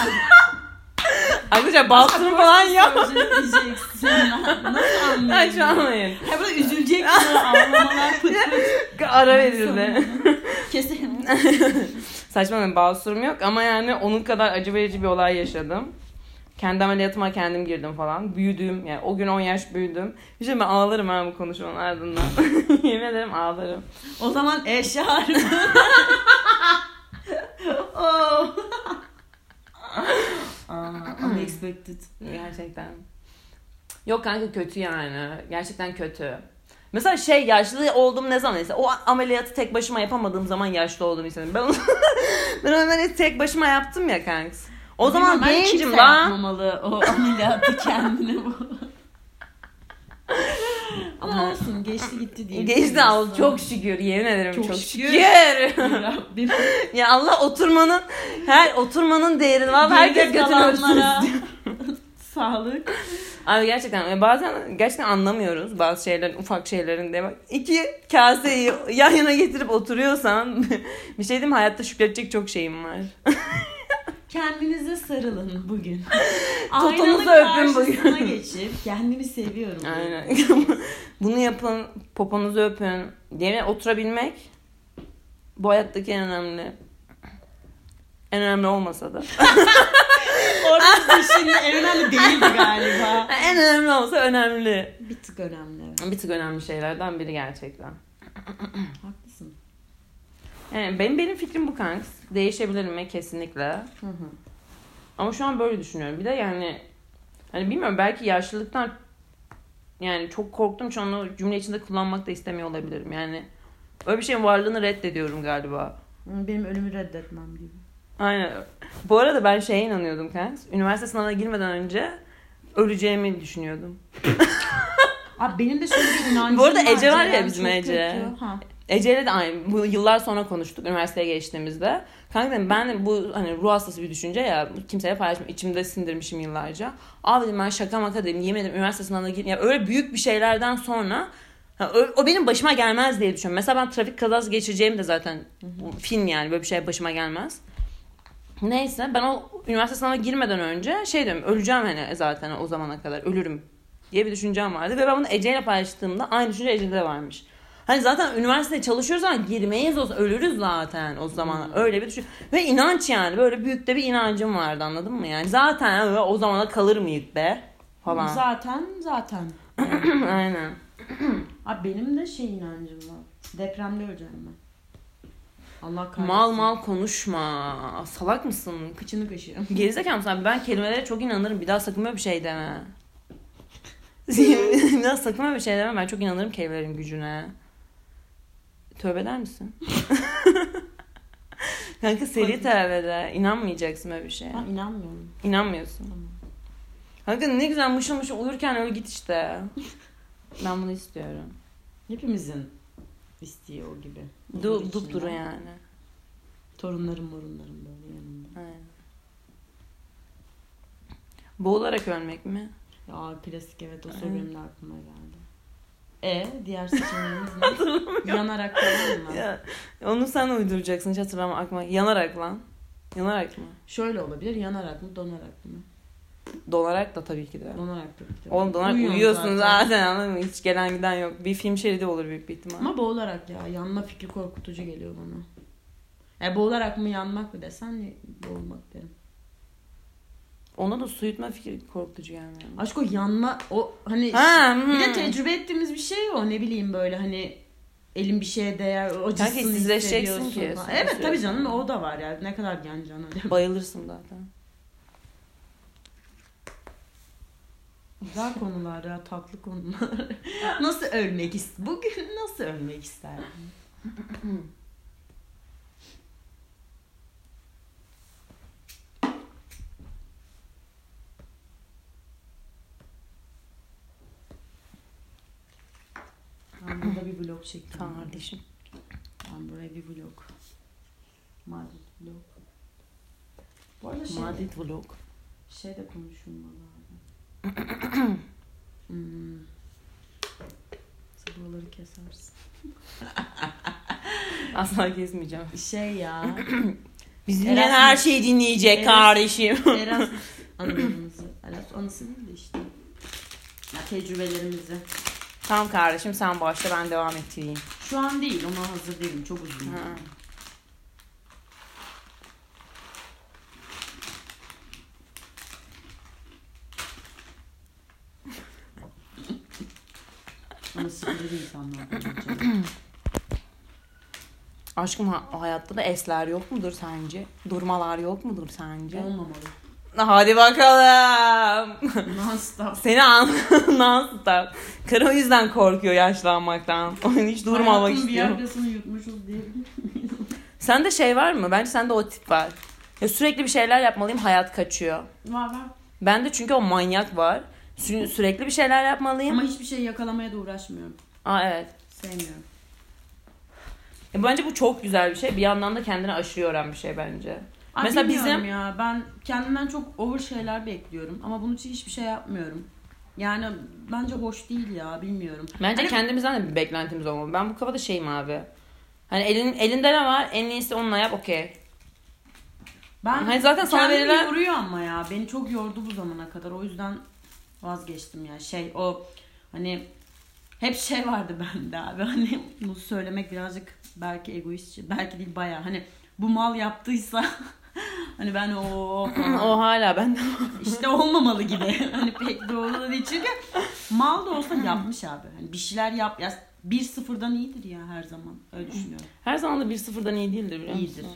Speaker 2: Arkadaşlar
Speaker 3: *laughs*
Speaker 2: bafsunum falan *laughs* yok.
Speaker 3: surgery diyeceksin.
Speaker 2: *laughs*
Speaker 3: Nasıl anlayayım?
Speaker 2: Ben şu anlayın.
Speaker 3: Ha burada üzülecek mi? Ağlamalar
Speaker 2: *laughs*
Speaker 3: fıt fıt.
Speaker 2: Ara verildi.
Speaker 3: Kesin.
Speaker 2: Saçma benim basurum yok ama yani onun kadar acı verici bir olay yaşadım. Kendi ameliyatıma kendim girdim falan. Büyüdüm yani o gün 10 yaş büyüdüm. Bir şey ben ağlarım ha bu konuşmanın ardından. *laughs* Yemin ederim ağlarım.
Speaker 3: O zaman eşar. *laughs* oh. Aa, unexpected.
Speaker 2: Gerçekten. Yok kanka kötü yani. Gerçekten kötü. Mesela şey yaşlı olduğum ne zaman ise o ameliyatı tek başıma yapamadığım zaman yaşlı olduğumu hissediyorum. Ben, onu- *laughs* ben o ameliyatı tek başıma yaptım ya kanka. O zaman
Speaker 3: Bilmiyorum, bence
Speaker 2: gencim
Speaker 3: kimse
Speaker 2: lan.
Speaker 3: yapmamalı o *laughs* ameliyatı kendine bu. Ama olsun geçti gitti diye.
Speaker 2: Geçti al
Speaker 3: *laughs*
Speaker 2: çok şükür yemin ederim çok,
Speaker 3: Çok
Speaker 2: şükür. *laughs*
Speaker 3: şükür. Rabbim.
Speaker 2: Ya Allah oturmanın her oturmanın değerini var. Herkes
Speaker 3: Geride
Speaker 2: götünü ölçsün
Speaker 3: kalanlara
Speaker 2: istiyor.
Speaker 3: *laughs* Sağlık.
Speaker 2: Abi gerçekten e, bazen gerçekten anlamıyoruz bazı şeylerin ufak şeylerin diye. Bak, iki kaseyi yan yana getirip oturuyorsan *laughs* bir şey diyeyim mi? hayatta şükredecek çok şeyim var.
Speaker 3: Kendinize sarılın bugün.
Speaker 2: Totunuzu
Speaker 3: Aynanın
Speaker 2: öpün bugün.
Speaker 3: karşısına geçip kendimi seviyorum.
Speaker 2: Aynen. *laughs* Bunu yapın, poponuzu öpün. Yere oturabilmek bu hayattaki en önemli. En önemli olmasa da. *laughs*
Speaker 3: Orası dışında en önemli değildi galiba.
Speaker 2: en önemli olsa önemli.
Speaker 3: Bir tık önemli. evet.
Speaker 2: Bir tık önemli şeylerden biri gerçekten.
Speaker 3: Haklısın.
Speaker 2: Yani Ee, benim benim fikrim bu kanks. Değişebilir mi? Kesinlikle.
Speaker 3: Hı hı.
Speaker 2: Ama şu an böyle düşünüyorum. Bir de yani hani bilmiyorum belki yaşlılıktan yani çok korktum için onu cümle içinde kullanmak da istemiyor olabilirim. Yani öyle bir şeyin varlığını reddediyorum galiba.
Speaker 3: Hı, Benim ölümü reddetmem gibi.
Speaker 2: Aynen. Bu arada ben şeye inanıyordum Kens. Üniversite sınavına girmeden önce öleceğimi düşünüyordum.
Speaker 3: Abi benim de şöyle bir inancım
Speaker 2: Bu arada
Speaker 3: var.
Speaker 2: Ece var ya
Speaker 3: Ceren
Speaker 2: bizim
Speaker 3: çok
Speaker 2: Ece.
Speaker 3: kötü. Ha.
Speaker 2: Ece'yle de aynı. Bu yıllar sonra konuştuk üniversiteye geçtiğimizde. Kanka dedim ben de bu hani ruh hastası bir düşünce ya kimseye paylaşmam. İçimde sindirmişim yıllarca. Abi dedim ben şaka maka dedim. Yemin ederim üniversite sınavına gir. Ya öyle büyük bir şeylerden sonra ha, ö- o benim başıma gelmez diye düşünüyorum. Mesela ben trafik kazası geçireceğim de zaten film yani böyle bir şey başıma gelmez. Neyse ben o üniversite sınavına girmeden önce şey diyorum öleceğim hani zaten o zamana kadar ölürüm diye bir düşüncem vardı. Ve ben bunu Ece'yle paylaştığımda aynı düşünce Ece'de de varmış. Hani zaten üniversiteye çalışıyoruz ama girmeyiz olsa ölürüz zaten o zaman. Öyle bir düşün. Ve inanç yani böyle büyük de bir inancım vardı anladın mı yani. Zaten öyle o zamana kalır mıyız be falan.
Speaker 3: Zaten zaten.
Speaker 2: *clears throat* Aynen.
Speaker 3: Abi benim de şey inancım var. Depremde öleceğim ben. Allah kahretsin.
Speaker 2: Mal mal konuşma. Salak mısın?
Speaker 3: Kıçını kaşıyorum.
Speaker 2: Gerizekalı mısın abi? Ben kelimelere çok inanırım. Bir daha sakın böyle bir şey deme. *laughs* bir daha sakın böyle bir şey deme. Ben çok inanırım kelimelerin gücüne. Tövbe eder misin? *laughs* Kanka seri tövbe de. İnanmayacaksın böyle bir şeye.
Speaker 3: Ben inanmıyorum.
Speaker 2: İnanmıyorsun.
Speaker 3: Tamam.
Speaker 2: Kanka ne güzel mışıl mışıl uyurken öyle git işte. Ben bunu istiyorum.
Speaker 3: Hepimizin isteği o gibi.
Speaker 2: Du, dup duru yani.
Speaker 3: Torunlarım morunlarım böyle yanımda.
Speaker 2: Aynen. Boğularak ölmek mi?
Speaker 3: Ya klasik evet o soru
Speaker 2: Evet.
Speaker 3: benim de aklıma geldi. E diğer seçeneğimiz
Speaker 2: *laughs*
Speaker 3: ne? Yanarak kalan mı?
Speaker 2: Ya, onu sen uyduracaksın hiç hatırlamam aklıma. Yanarak lan. Yanarak mı?
Speaker 3: Şöyle olabilir yanarak mı donarak mı?
Speaker 2: Donarak da tabii ki de.
Speaker 3: Donarak tabii ki.
Speaker 2: Oğlum donarak
Speaker 3: Uyuyorsun
Speaker 2: uyuyorsun zaten. anladın mı? Hiç gelen giden yok. Bir film şeridi olur büyük bir ihtimal.
Speaker 3: Ama boğularak ya yanma fikri korkutucu geliyor bana. E boğularak mı yanmak mı desen boğulmak derim.
Speaker 2: Ona da su yutma fikri korkutucu gelmiyor. mu?
Speaker 3: Aşk o yanma o hani
Speaker 2: Ha,
Speaker 3: bir de
Speaker 2: hmm.
Speaker 3: tecrübe ettiğimiz bir şey o ne bileyim böyle hani elin bir şeye değer o acısını
Speaker 2: hissizleşeceksin
Speaker 3: hissediyorsun
Speaker 2: ki
Speaker 3: falan.
Speaker 2: sonra
Speaker 3: Evet tabii
Speaker 2: sürekli.
Speaker 3: canım o da var yani ne kadar yanacaksın öyle.
Speaker 2: Bayılırsın zaten.
Speaker 3: Güzel konular ya tatlı konular. *laughs* nasıl ölmek ist bugün nasıl ölmek isterdin? Ben burada bir vlog çektim.
Speaker 2: Kardeşim.
Speaker 3: Ben buraya bir vlog. Madrid vlog. Bu arada şey,
Speaker 2: Madrid vlog.
Speaker 3: şey de konuşulmalı abi. hmm. Sen Buraları kesersin.
Speaker 2: Asla gezmeyeceğim.
Speaker 3: Şey ya.
Speaker 2: Biz
Speaker 3: dinleyen
Speaker 2: dinleyen
Speaker 3: her
Speaker 2: her şeyi dinleyecek
Speaker 3: Erasmus.
Speaker 2: kardeşim.
Speaker 3: Erasmus anılarımızı. Erasmus anısı değil de işte. Ya tecrübelerimizi.
Speaker 2: tamam kardeşim sen başla ben devam ettireyim.
Speaker 3: Şu an değil ona hazır değilim. Çok uzun.
Speaker 2: Ha.
Speaker 3: yani. Ama sıkıcı bir insanlar. bence.
Speaker 2: Aşkım ha- hayatta da esler yok mudur sence? Durmalar yok mudur sence?
Speaker 3: Olmamalı.
Speaker 2: Hadi bakalım. *laughs*
Speaker 3: Non stop.
Speaker 2: Seni an *laughs* non-stop. Karı o yüzden korkuyor yaşlanmaktan. *laughs* Onun hiç durmamak
Speaker 3: Hayatın bir
Speaker 2: istiyor.
Speaker 3: yerdesini yutmuşuz diye.
Speaker 2: Sende şey var mı? Bence sende o tip var. Ya sürekli bir şeyler yapmalıyım hayat kaçıyor.
Speaker 3: Var var.
Speaker 2: Bende çünkü o manyak var. Sü- sürekli bir şeyler yapmalıyım.
Speaker 3: Ama hiçbir şey yakalamaya da uğraşmıyorum.
Speaker 2: Aa evet.
Speaker 3: Sevmiyorum.
Speaker 2: E, bence bu çok güzel bir şey. Bir yandan da kendini aşırı öğren bir şey bence.
Speaker 3: Ay
Speaker 2: Mesela
Speaker 3: bilmiyorum
Speaker 2: bizim-
Speaker 3: ya ben kendimden çok over şeyler bekliyorum ama bunun için hiçbir şey yapmıyorum. Yani bence hoş değil ya bilmiyorum.
Speaker 2: Bence
Speaker 3: Hani-
Speaker 2: kendimizden de bir beklentimiz olmalı. Ben bu kafada şeyim abi. Hani elin, elinde ne var en iyisi onunla yap okey.
Speaker 3: Ben
Speaker 2: Hani zaten sana
Speaker 3: kendimi
Speaker 2: verilen-
Speaker 3: yoruyor ama ya. Beni çok yordu bu zamana kadar. O yüzden vazgeçtim ya. Şey o hani hep şey vardı *laughs* bende abi. Hani bunu söylemek birazcık belki egoistçi. Belki değil bayağı. Hani bu mal yaptıysa *laughs* hani ben o
Speaker 2: o hala bende.
Speaker 3: işte olmamalı gibi. *laughs* Hani pek doğru da değil. Çünkü mal da olsa yapmış abi. Hani bir şeyler yap. Ya bir sıfırdan iyidir ya her zaman. Öyle düşünüyorum.
Speaker 2: Her zaman da bir sıfırdan iyi değildir biliyor musun?
Speaker 3: İyidir.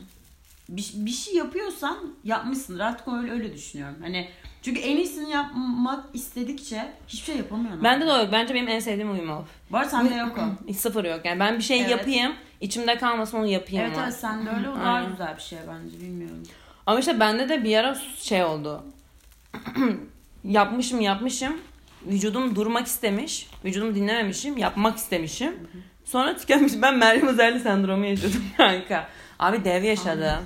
Speaker 3: bir, bir şey yapıyorsan yapmışsındır. Artık öyle öyle düşünüyorum. Hani çünkü en iyisini yapmak istedikçe hiçbir şey yapamıyorum.
Speaker 2: Bende de o yok. Bence benim en sevdiğim uyum o.
Speaker 3: Var sende yok o.
Speaker 2: Hiç sıfır yok. Yani ben bir şey
Speaker 3: Evet.
Speaker 2: yapayım, içimde kalmasın onu yapayım.
Speaker 3: Evet
Speaker 2: ama.
Speaker 3: evet sende öyle o daha
Speaker 2: Aynen.
Speaker 3: güzel bir şey bence bilmiyorum.
Speaker 2: Ama işte bende de bir ara şey oldu. *clears throat* yapmışım yapmışım. Vücudum durmak istemiş. Vücudumu dinlememişim. Yapmak istemişim. Sonra tükenmiş. Ben Meryem Özerli sendromu yaşadım *laughs* kanka. Abi dev yaşadım.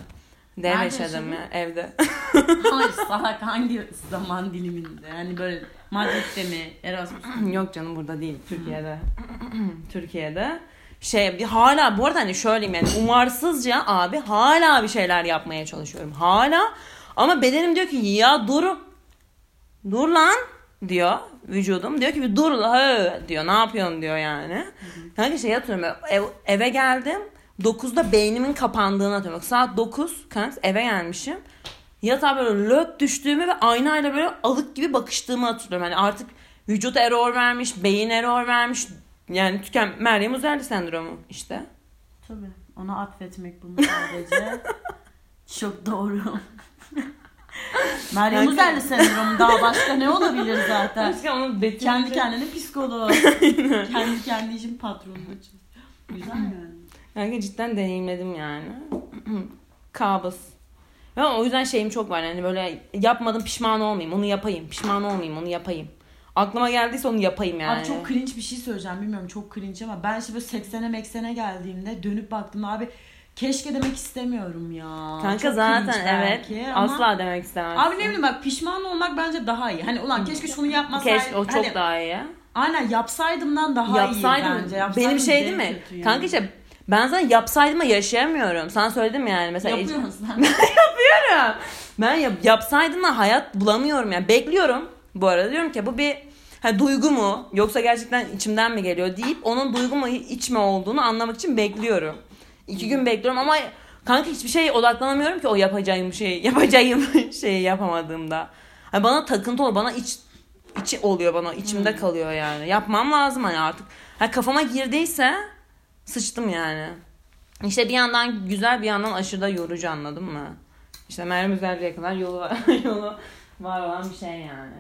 Speaker 2: Dev
Speaker 3: Nerede
Speaker 2: yaşadım
Speaker 3: yaşadın?
Speaker 2: ya evde.
Speaker 3: Hayır salak hangi zaman diliminde? Hani böyle Madrid'de mi? Erasmus.
Speaker 2: *clears throat* Yok canım burada değil Türkiye'de. *clears throat* Türkiye'de. Şey bir hala bu arada hani şöyleyim yani umarsızca abi hala bir şeyler yapmaya çalışıyorum. Hala ama bedenim diyor ki ya dur. Dur lan diyor vücudum. Diyor ki bir dur la, hı," diyor ne yapıyorsun diyor yani. Kanka şey atıyorum böyle, ev- eve geldim. 9'da beynimin kapandığını atıyorum. Bak, saat 9 kanka eve gelmişim. Yatağa böyle löp düştüğümü ve aynayla böyle alık gibi bakıştığımı hatırlıyorum. Hani artık vücut error vermiş, beyin error vermiş. Yani tüken Meryem Uzerli sendromu işte.
Speaker 3: Tabii. Ona atfetmek bunu sadece. Çok doğru. Meryem
Speaker 2: Kanka-
Speaker 3: Uzerli sendromu daha başka ne olabilir zaten?
Speaker 2: Aşkım onun betimci-
Speaker 3: Kendi kendine
Speaker 2: *laughs*
Speaker 3: psikolog. kendi kendi işin patronu. Güzel yani.
Speaker 2: Kanka cidden deneyimledim yani. *clears throat* Kabız. Ve o yüzden şeyim çok var yani böyle yapmadım pişman olmayayım onu yapayım pişman olmayayım onu yapayım. Aklıma geldiyse onu yapayım yani.
Speaker 3: Abi çok cringe bir şey söyleyeceğim bilmiyorum çok cringe ama ben şimdi böyle 80'e 80'e geldiğimde dönüp baktım abi keşke demek istemiyorum ya.
Speaker 2: Kanka
Speaker 3: Çok
Speaker 2: zaten
Speaker 3: cringe
Speaker 2: evet
Speaker 3: belki ama-
Speaker 2: asla demek istemem.
Speaker 3: Abi ne bileyim bak pişman olmak bence daha iyi. Hani ulan keşke şunu yapmasaydım.
Speaker 2: Keşke o çok
Speaker 3: Hani
Speaker 2: daha iyi.
Speaker 3: Aynen yapsaydımdan daha iyi
Speaker 2: Yapsaydım
Speaker 3: bence. Yapsaydım
Speaker 2: benim şey
Speaker 3: en
Speaker 2: değil mi?
Speaker 3: kötü yani.
Speaker 2: Kanka işte ben zaten yapsaydım da yaşayamıyorum. Sana söyledim yani mesela.
Speaker 3: Yapıyor
Speaker 2: *laughs*
Speaker 3: musun?
Speaker 2: Yapıyorum. Ben yap, yapsaydım da hayat bulamıyorum yani. Bekliyorum bu arada diyorum ki bu bir ha, duygu mu yoksa gerçekten içimden mi geliyor deyip onun duygu mu iç mi olduğunu anlamak için bekliyorum. İki gün bekliyorum ama kanka hiçbir şeye odaklanamıyorum ki o yapacağım şeyi *laughs* yapacağım şeyi yapamadığımda. Hani bana takıntı oluyor bana iç içi oluyor bana içimde kalıyor yani. Yapmam lazım hani artık. Ha, kafama girdiyse sıçtım yani. İşte bir yandan güzel bir yandan aşırı da yorucu anladın mı? İşte Meryem Üzerli'ye kadar yolu var, *laughs* yolu var olan bir şey yani.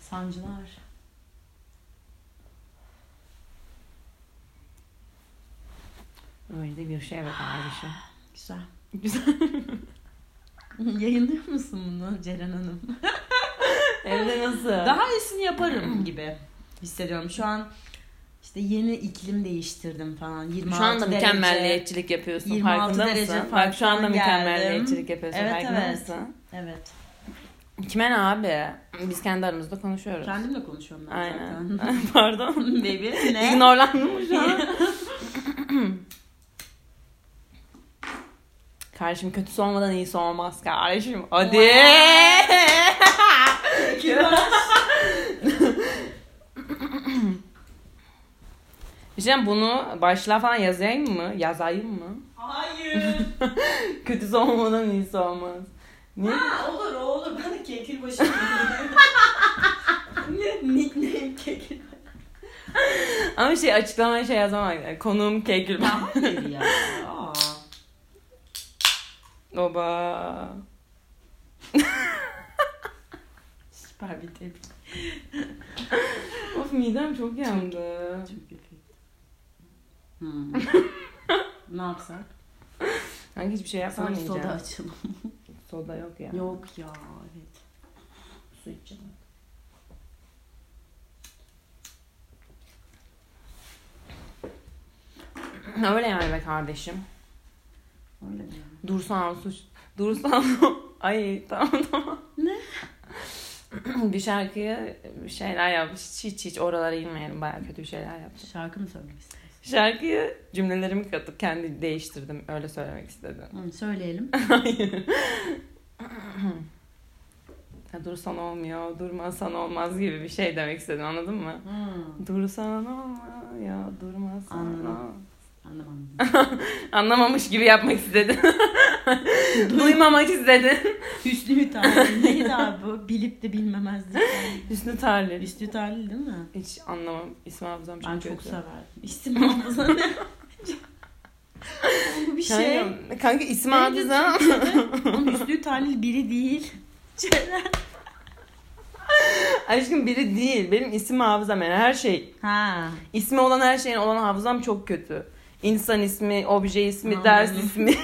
Speaker 3: Sancılar.
Speaker 2: Öyle de bir şey evet abi
Speaker 3: *laughs* Güzel.
Speaker 2: Güzel.
Speaker 3: Yayınlıyor musun bunu Ceren Hanım?
Speaker 2: Evde nasıl?
Speaker 3: Daha iyisini yaparım gibi hissediyorum. Şu an işte yeni iklim değiştirdim falan. 26
Speaker 2: şu anda
Speaker 3: derece.
Speaker 2: mükemmelliyetçilik yapıyorsun
Speaker 3: 26
Speaker 2: farkında
Speaker 3: derece
Speaker 2: mısın? Bak şu
Speaker 3: farktan
Speaker 2: anda
Speaker 3: geldim.
Speaker 2: mükemmelliyetçilik yapıyorsun
Speaker 3: Evet,
Speaker 2: farkında
Speaker 3: evet.
Speaker 2: mısın?
Speaker 3: Evet.
Speaker 2: Kime ne abi? Biz kendi aramızda konuşuyoruz.
Speaker 3: Kendimle konuşuyorum ben
Speaker 2: Aynen.
Speaker 3: zaten. *laughs*
Speaker 2: *laughs* Pardon.
Speaker 3: Baby
Speaker 2: *laughs*
Speaker 3: ne?
Speaker 2: İgnorlandım mı şu
Speaker 3: *laughs*
Speaker 2: an? Kardeşim kötüsü olmadan iyisi olmaz kardeşim. Hadi. Bir şey diyeyim, bunu başlığa falan yazayım mı? Yazayım mı? *laughs*
Speaker 3: Hayır.
Speaker 2: Kötüsü olmadan iyisi olmaz. Ne?
Speaker 3: Ha, olur o olur. Ben de kekil *laughs* başı. ne? Nickname kekil.
Speaker 2: Ama şey açıklamaya şey yazamak. Yani Konuğum kekil.
Speaker 3: *laughs* Ya hayır ya. Aa.
Speaker 2: Oba.
Speaker 3: Süper bir tepki.
Speaker 2: Of midem çok yandı.
Speaker 3: Çok kötü. Hmm. ne yapsak?
Speaker 2: Sanki hiçbir şey
Speaker 3: Sana
Speaker 2: yapamayacağım.
Speaker 3: soda
Speaker 2: Soda.
Speaker 3: açalım.
Speaker 2: yok ya.
Speaker 3: Yok ya evet. Su içeceğim.
Speaker 2: *laughs* Öyle yani be kardeşim.
Speaker 3: Öyle mi?
Speaker 2: *laughs* Dursan suç. Dursan Ay tamam tamam.
Speaker 3: Ne?
Speaker 2: *clears throat* bir şarkıya bir şeyler yapmış. Hiç hiç, hiç oralara inmeyelim. Bayağı kötü şeyler yapmış.
Speaker 3: Şarkı mı söylemek istiyorsun?
Speaker 2: Şarkıyı cümlelerimi katıp kendi değiştirdim. Öyle söylemek istedim.
Speaker 3: Hı, söyleyelim.
Speaker 2: Hayır. Ya dursan olmuyor, durmasan olmaz gibi bir şey demek istedim anladın mı?
Speaker 3: Hı,
Speaker 2: Dursan olmaz ya durmasan
Speaker 3: Anladım.
Speaker 2: olmaz.
Speaker 3: anlamadım. *laughs*
Speaker 2: Anlamamış gibi yapmak istedin. Duymamak istedin.
Speaker 3: Hüsnü Hütali neydi abi bu? Bilip de bilmemezdik.
Speaker 2: Hüsnü Tarlı.
Speaker 3: Hüsnü Hütali değil mi?
Speaker 2: Hiç anlamam. İsmi hafızam çok
Speaker 3: Ben
Speaker 2: kötü.
Speaker 3: çok severdim. İsim hafıza ne? *laughs* Bu bir şey.
Speaker 2: Kanka, kanka isim
Speaker 3: Neydi
Speaker 2: hafızam.
Speaker 3: *laughs* Türkiye'de? Oğlum Hüsnü Hütali biri değil. Ceren.
Speaker 2: *laughs* Aşkım biri değil. Benim isim hafızam yani her şey.
Speaker 3: *laughs* ha.
Speaker 2: İsmi olan her şeyin olan hafızam çok kötü. İnsan ismi, obje ismi,
Speaker 3: Anladım.
Speaker 2: ders ismi.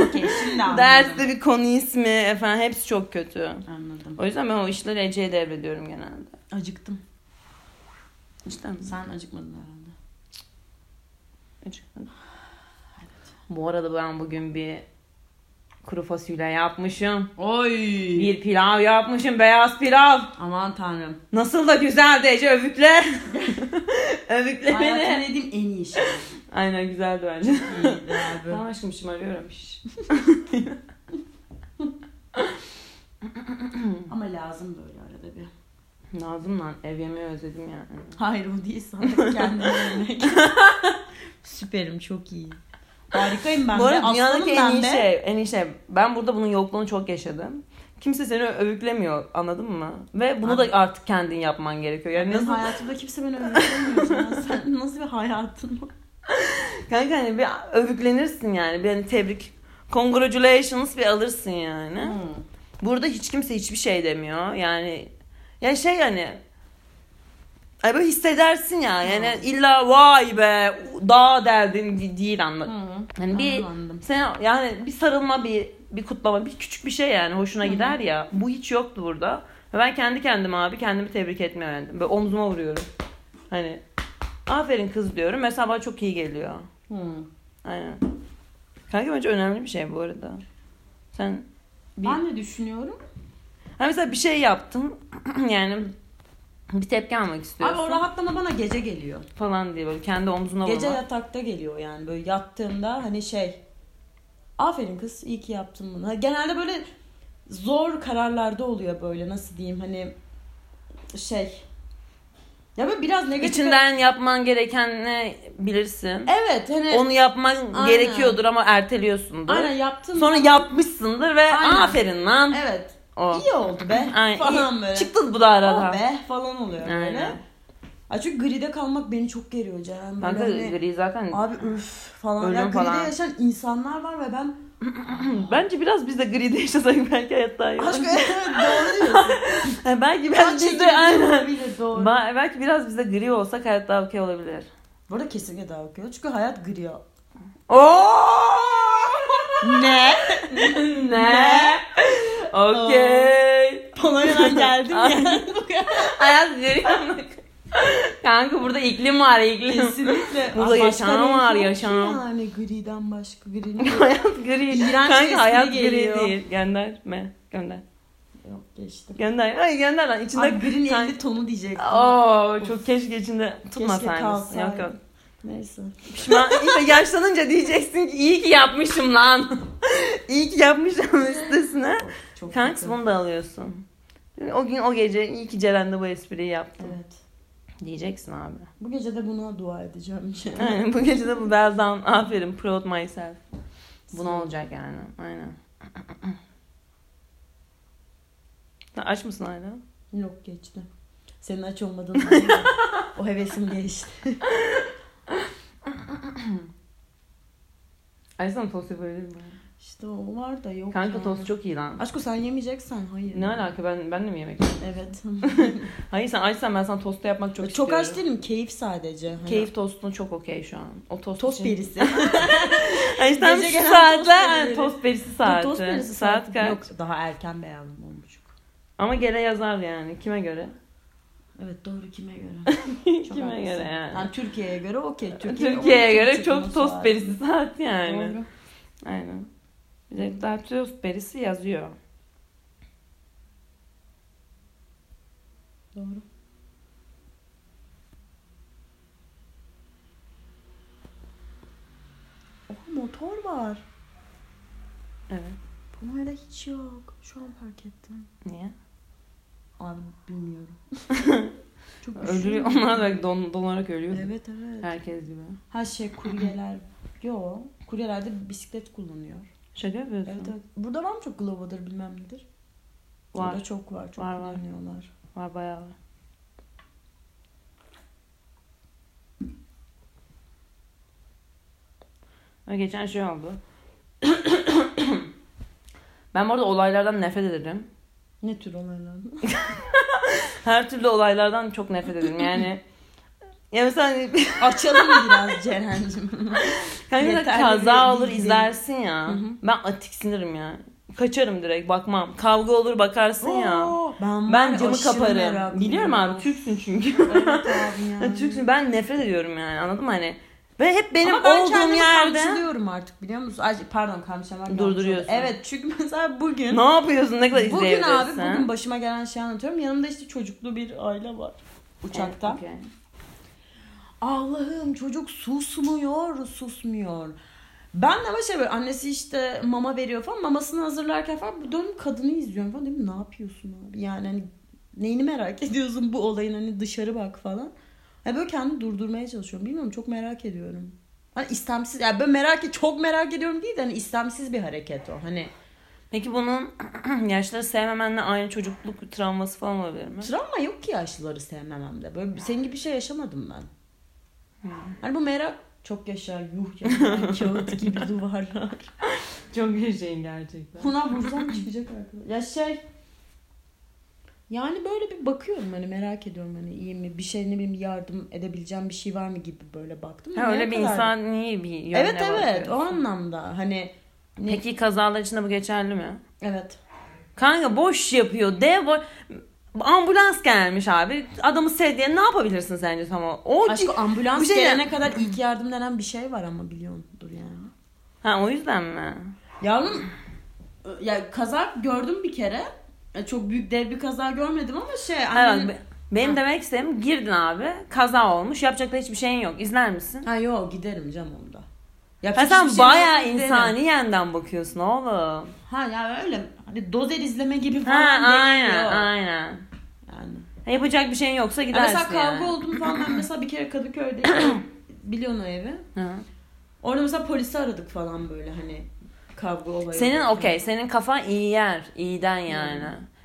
Speaker 3: Okey şimdi anladım.
Speaker 2: Derste bir konu ismi efendim hepsi çok kötü.
Speaker 3: Anladım.
Speaker 2: O yüzden ben o işleri Ece'ye devrediyorum genelde.
Speaker 3: Acıktım.
Speaker 2: İşte mi?
Speaker 3: Sen acıkmadın herhalde.
Speaker 2: Ece. Bu arada ben bugün bir kuru fasulye yapmışım.
Speaker 3: Oy.
Speaker 2: Bir pilav yapmışım. Beyaz pilav.
Speaker 3: Aman *laughs* tanrım.
Speaker 2: Nasıl da güzeldi Ece *laughs* övükle. övükle
Speaker 3: Hayatımda
Speaker 2: beni.
Speaker 3: yediğim en iyi şey.
Speaker 2: Aynen güzeldi bence.
Speaker 3: İyiydi abi.
Speaker 2: Tamam aşkım şımarıyorum. Şş.
Speaker 3: Ama lazım böyle arada bir.
Speaker 2: Lazım lan ev yemeği özledim yani.
Speaker 3: Hayır o değil
Speaker 2: *laughs*
Speaker 3: sana kendine örnek. Süperim çok iyi. Harikayım ben
Speaker 2: Bu
Speaker 3: de.
Speaker 2: arada dünyadaki
Speaker 3: aslanım
Speaker 2: en
Speaker 3: ben
Speaker 2: iyi
Speaker 3: de.
Speaker 2: şey, en iyi şey. Ben burada bunun yokluğunu çok yaşadım. Kimse seni övüklemiyor anladın mı? Ve bunu da
Speaker 3: Aynen.
Speaker 2: artık kendin yapman gerekiyor. Yani
Speaker 3: Benim
Speaker 2: nasıl,
Speaker 3: hayatımda kimse beni öğretemiyor.
Speaker 2: *laughs*
Speaker 3: Sen nasıl bir hayatın var?
Speaker 2: kanka hani bir övüklenirsin yani. Bir hani tebrik, congratulations bir alırsın yani. Burada hiç kimse hiçbir şey demiyor. Yani ya şey hani Ay böyle hissedersin ya. Yani illa vay be daha derdin değil anladın. Yani bir
Speaker 3: Anladım.
Speaker 2: Sen yani bir sarılma, bir bir kutlama, bir küçük bir şey yani hoşuna gider ya. Bu hiç yoktu burada. Ve Ben kendi kendime abi kendimi tebrik etmeyi öğrendim. Böyle omzuma vuruyorum. Hani aferin kız diyorum. Mesela bana çok iyi geliyor. Aynen. Kanka bence önemli bir şey bu arada. Sen bir...
Speaker 3: Ben de düşünüyorum.
Speaker 2: Ha mesela bir şey yaptın. *clears throat* yani bir tepki almak istiyorsun.
Speaker 3: Abi o rahatlama bana gece geliyor.
Speaker 2: Falan diye böyle kendi omzuna
Speaker 3: Gece
Speaker 2: vurma.
Speaker 3: yatakta geliyor yani böyle yattığımda hani şey. Aferin kız iyi ki yaptın bunu. Ha, Genelde böyle zor kararlarda oluyor böyle nasıl diyeyim hani şey. Ya böyle biraz negatif.
Speaker 2: İçinden yapman gereken ne bilirsin.
Speaker 3: Evet hani.
Speaker 2: Onu yapman
Speaker 3: Aynen.
Speaker 2: gerekiyordur ama erteliyorsundur.
Speaker 3: Aynen yaptın.
Speaker 2: Sonra yapmışsındır ve
Speaker 3: Aynen.
Speaker 2: aferin lan.
Speaker 3: Evet.
Speaker 2: O.
Speaker 3: İyi oldu be
Speaker 2: *laughs* Aynen.
Speaker 3: falan
Speaker 2: İyi.
Speaker 3: böyle.
Speaker 2: Çıktın bu da arada.
Speaker 3: "Aa be falan oluyor böyle.
Speaker 2: Aynen.
Speaker 3: Ay çünkü gride kalmak beni çok geriyor Ceren. Böyle
Speaker 2: Kanka
Speaker 3: hani-
Speaker 2: gri zaten.
Speaker 3: Abi üf falan.
Speaker 2: Ölüm
Speaker 3: Ya gride
Speaker 2: falan.
Speaker 3: yaşayan insanlar var ve ben
Speaker 2: *clears throat* Bence biraz biz de gride yaşasak *laughs* belki hayat daha iyi olur.
Speaker 3: aşk evet doğru diyorsun.
Speaker 2: *laughs* Ha, belki biraz biz de
Speaker 3: Çekimci
Speaker 2: aynen.
Speaker 3: olabilir, doğru.
Speaker 2: Ba- belki biraz biz de gri olsak hayat daha okey olabilir.
Speaker 3: Bu arada kesinlikle daha okuyor. Çünkü hayat gri.
Speaker 2: Oo!
Speaker 3: *laughs* ne?
Speaker 2: *laughs*
Speaker 3: *laughs*
Speaker 2: ne? Okey.
Speaker 3: Polonya'dan geldim ya. *laughs*
Speaker 2: Hayat gri. Kanka burada iklim var iklim.
Speaker 3: Kesinlikle.
Speaker 2: Burada
Speaker 3: Başka
Speaker 2: yaşam
Speaker 3: renk
Speaker 2: var,
Speaker 3: yok ki
Speaker 2: yaşam.
Speaker 3: Yani griden
Speaker 2: *laughs*
Speaker 3: başka
Speaker 2: *laughs*
Speaker 3: grinin
Speaker 2: hayat gri.
Speaker 3: İğrenç bir espri
Speaker 2: Kanka hayat
Speaker 3: geliyor.
Speaker 2: gri değil. Gönderme. Gönder.
Speaker 3: yok geçtim.
Speaker 2: Gönder. Ay gönder lan. İçinde
Speaker 3: Abi green
Speaker 2: Sen-
Speaker 3: 50 tonu diyecektim.
Speaker 2: Oo çok keşke içinde tutmasaydın.
Speaker 3: kalsaydı.
Speaker 2: Yok yok.
Speaker 3: Neyse.
Speaker 2: Pişman, *laughs* işte yaşlanınca diyeceksin ki iyi ki yapmışım *laughs* lan. iyi ki yapmışım üstesine.
Speaker 3: Çok
Speaker 2: Kanks
Speaker 3: kötü.
Speaker 2: bunu da alıyorsun. O gün o gece iyi ki Ceren'de bu espriyi yaptım.
Speaker 3: Evet.
Speaker 2: Diyeceksin abi.
Speaker 3: Bu gece de buna dua edeceğim. *laughs*
Speaker 2: Aynen, bu gece de bu Belzan aferin proud myself. Bu ne olacak yani? Aynen. Sen aç mısın hala?
Speaker 3: Yok geçti. Senin aç olmadığın *laughs* o hevesim geçti.
Speaker 2: Açsana tost yapabilirim ben.
Speaker 3: İşte o var da yok.
Speaker 2: Kanka
Speaker 3: yani.
Speaker 2: tost çok iyi lan.
Speaker 3: Aşko sen yemeyeceksen hayır.
Speaker 2: Ne alaka ben, ben de mi yemek
Speaker 3: *laughs* Evet.
Speaker 2: Hayır sen açsan ben sana tostu yapmak çok
Speaker 3: çok
Speaker 2: istiyorum.
Speaker 3: aç değilim. Keyif sadece. Hani
Speaker 2: Keyif tostun çok okey şu an. O tost
Speaker 3: Tost
Speaker 2: için. *laughs*
Speaker 3: *laughs* berisi.
Speaker 2: Ay işte tam
Speaker 3: Gece
Speaker 2: şu
Speaker 3: gelen
Speaker 2: saatle
Speaker 3: tost
Speaker 2: yani
Speaker 3: berileri.
Speaker 2: tost berisi saati.
Speaker 3: tost berisi
Speaker 2: saat, kaç?
Speaker 3: Yok daha erken beğendim on buçuk.
Speaker 2: Ama gene yazar yani kime göre?
Speaker 3: Evet doğru kime göre?
Speaker 2: *laughs*
Speaker 3: *laughs*
Speaker 2: Kime
Speaker 3: haklısın.
Speaker 2: göre yani?
Speaker 3: Türkiye'ye göre okey. Türkiye
Speaker 2: Türkiye'ye göre
Speaker 3: çıkmış
Speaker 2: çok tost
Speaker 3: saat.
Speaker 2: berisi saat yani.
Speaker 3: Doğru.
Speaker 2: Aynen. Bir de daha tost berisi yazıyor.
Speaker 3: Doğru.
Speaker 4: Oha motor var.
Speaker 2: Evet.
Speaker 3: Bunlarda hiç yok. Şu an fark ettim.
Speaker 2: Niye?
Speaker 3: Abi *laughs* bilmiyorum. Çok
Speaker 2: Ölüyor. *laughs*
Speaker 3: üşüyorum.
Speaker 2: Onlar da don, donarak ölüyor.
Speaker 3: Evet evet.
Speaker 2: Herkes gibi.
Speaker 3: Her şey kuryeler. *clears throat* Yo. Kuryeler de bisiklet kullanıyor.
Speaker 2: Şaka yapıyorsun.
Speaker 3: Evet evet. Burada var mı çok Glovo'dur bilmem nedir?
Speaker 2: Var.
Speaker 3: Burada çok var. Çok
Speaker 2: Var, var.
Speaker 3: kullanıyorlar.
Speaker 2: Var bayağı var. Ha, Geçen şey oldu. *coughs* ben bu arada olaylardan nefret ederim.
Speaker 3: Ne tür olaylar?
Speaker 2: Her türlü olaylardan çok nefret ederim.
Speaker 3: *laughs*
Speaker 2: Yani ya mesela hani-
Speaker 3: *laughs* Açalım biraz *laughs*
Speaker 2: *laughs*
Speaker 3: Ceren'cim.
Speaker 2: Kanka mesela
Speaker 3: Yeterli
Speaker 2: kaza
Speaker 3: bir
Speaker 2: olur
Speaker 3: bilgi.
Speaker 2: izlersin ya.
Speaker 3: Hı hı.
Speaker 2: Ben atiksinirim ya. Kaçarım direkt bakmam. Kavga olur bakarsın ya.
Speaker 3: Oo, ben,
Speaker 2: Ben
Speaker 3: var,
Speaker 2: camı
Speaker 3: aşırı
Speaker 2: kaparım.
Speaker 3: meraklıyım.
Speaker 2: Biliyorum abi Türksün çünkü.
Speaker 3: Evet *laughs* abi yani.
Speaker 2: Türksün ben nefret ediyorum yani anladın mı hani. Ve hep benim
Speaker 3: Ama ben
Speaker 2: olduğum
Speaker 3: kendimi
Speaker 2: yerde
Speaker 3: kamçılıyorum artık biliyor musun? Ay, pardon kamçılamak. yanlış oldu.
Speaker 2: Durduruyorsun.
Speaker 3: Evet çünkü *laughs* mesela bugün.
Speaker 2: ne yapıyorsun ne kadar
Speaker 3: Bugün
Speaker 2: izleyebilirsin.
Speaker 3: abi bugün başıma gelen şeyi anlatıyorum. Yanımda işte çocuklu bir aile var. Uçakta.
Speaker 2: Evet, okey.
Speaker 3: Allah'ım çocuk susmuyor, susmuyor. Ben de başa böyle annesi işte mama veriyor falan mamasını hazırlarken falan bu dönüm kadını izliyorum falan dedim ne yapıyorsun abi yani hani neyini merak ediyorsun bu olayın hani dışarı bak falan. Yani böyle kendimi durdurmaya çalışıyorum bilmiyorum çok merak ediyorum. Hani istemsiz yani böyle merak çok merak ediyorum değil de hani istemsiz bir hareket o hani.
Speaker 2: Peki bunun *clears throat* yaşları sevmemenle aynı çocukluk travması falan olabilir mi?
Speaker 3: Travma yok ki yaşlıları sevmememde. Böyle senin gibi bir şey yaşamadım ben. Hani bu merak çok yaşa yuh ya *laughs* kağıt gibi duvarlar.
Speaker 2: Çok bir şeyin gerçekten.
Speaker 3: *laughs* Buna vursam çıkacak arkadaşlar. Ya şey yani böyle bir bakıyorum hani merak ediyorum hani iyi mi bir şey ne bileyim yardım edebileceğim bir şey var mı gibi böyle baktım.
Speaker 2: Ha, öyle
Speaker 3: Ne
Speaker 2: bir
Speaker 3: kadar-
Speaker 2: insan iyi bir yönüne
Speaker 3: Evet evet o
Speaker 2: bakıyorsun.
Speaker 3: anlamda hani ne-
Speaker 2: Peki kazalar için de bu geçerli mi?
Speaker 3: evet.
Speaker 2: Kanka boş yapıyor. Dev boş. Ambulans gelmiş abi. Adamı sevdiye ne yapabilirsin sence tam o? o
Speaker 3: Aşkı
Speaker 2: bu
Speaker 3: ambulans
Speaker 2: şey-
Speaker 3: gelene kadar ilk yardım denen bir şey var ama biliyordur yani.
Speaker 2: Ha o yüzden mi?
Speaker 3: Yavrum ya kaza gördüm bir kere. Ya Çok büyük dev bir kaza görmedim ama şey
Speaker 2: Hayır,
Speaker 3: annem...
Speaker 2: bak, benim demek istediğim girdin abi. Kaza olmuş. Yapacak da hiçbir şeyin yok. İzler misin?
Speaker 3: Ha yok giderim canım onda.
Speaker 2: Ha
Speaker 3: Yapacak
Speaker 2: sen
Speaker 3: hiçbir şey
Speaker 2: bayağı
Speaker 3: yok, giderim.
Speaker 2: insani yenden bakıyorsun oğlum.
Speaker 3: Ha ya öyle hani dozer izleme
Speaker 2: Ha
Speaker 3: gibi falan değil
Speaker 2: aynen
Speaker 3: yok.
Speaker 2: aynen.
Speaker 3: Yani.
Speaker 2: Ha, Yapacak bir şeyin yoksa
Speaker 3: Ya
Speaker 2: gidersin
Speaker 3: mesela kavga
Speaker 2: yani.
Speaker 3: oldum falan ben mesela bir
Speaker 2: *coughs*
Speaker 3: kere Kadıköy'de işte, biliyorsun o evi.
Speaker 2: Hı.
Speaker 3: Orada mesela polisi aradık falan böyle hani kavga olayı.
Speaker 2: Senin okey. Senin kafan iyi yer. iyiden yani.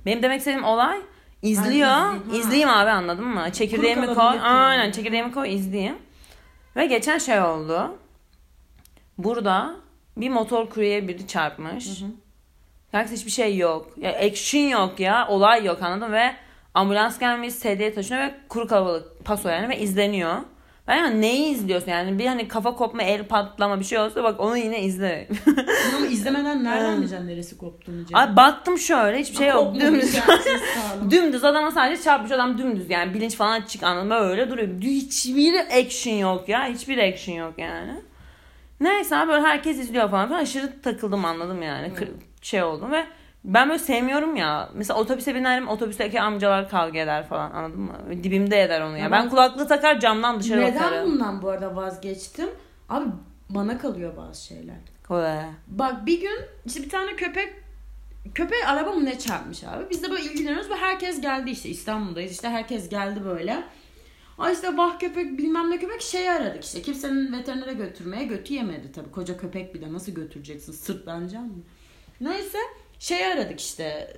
Speaker 2: Benim demek istediğim olay izliyor.
Speaker 3: Ha, izleyeyim, ha.
Speaker 2: izleyeyim abi anladın mı? Çekirdeğimi koy.
Speaker 3: Kuru kalabalık yani.
Speaker 2: Aynen çekirdeğimi koy izleyeyim. Ve geçen şey oldu. Burada bir motor kuryeye biri çarpmış.
Speaker 3: Hı hı.
Speaker 2: Kanka hiçbir şey yok. Ya action yok ya. Olay yok anladın mı? ve ambulans gelmiş sedyeye taşınıyor ve kuru kalabalık paso yani ve izleniyor. Ben yani neyi izliyorsun yani bir hani kafa kopma el patlama bir şey olsa bak onu yine izle. *laughs*
Speaker 3: Bunu ama izlemeden nereden bileceksin neresi koptuğunu canım?
Speaker 2: Abi baktım şöyle hiçbir şey yok.
Speaker 3: Kopmuş
Speaker 2: Dümdüz. *laughs*
Speaker 3: ya, siz sağlam.
Speaker 2: dümdüz adama sadece çarpmış adam dümdüz yani bilinç falan açık anlamda öyle duruyor. Hiçbir action yok ya. Hiçbir action yok yani. Neyse abi böyle herkes izliyor falan filan. Aşırı takıldım anladım yani. Kır- Şey oldum ve ben böyle sevmiyorum ya. Mesela otobüse binerim otobüsteki amcalar kavga eder falan anladın mı? Dibimde eder onu ya.
Speaker 3: Ya
Speaker 2: Ben
Speaker 3: ben-
Speaker 2: kulaklığı takar camdan dışarı
Speaker 3: Neden
Speaker 2: bakarım.
Speaker 3: bundan bu arada vazgeçtim? Abi bana kalıyor bazı şeyler.
Speaker 2: Kolay.
Speaker 3: Bak bir gün işte bir tane köpek köpeğe araba mı ne çarpmış abi. Biz de böyle ilgileniyoruz ve herkes geldi işte İstanbul'dayız işte herkes geldi böyle. Ay işte vah köpek bilmem ne köpek şey aradık işte. Kimsenin veterinere götürmeye götü yemedi tabii. Koca köpek bir de nasıl götüreceksin sırtlanacaksın mı? Neyse şey aradık işte.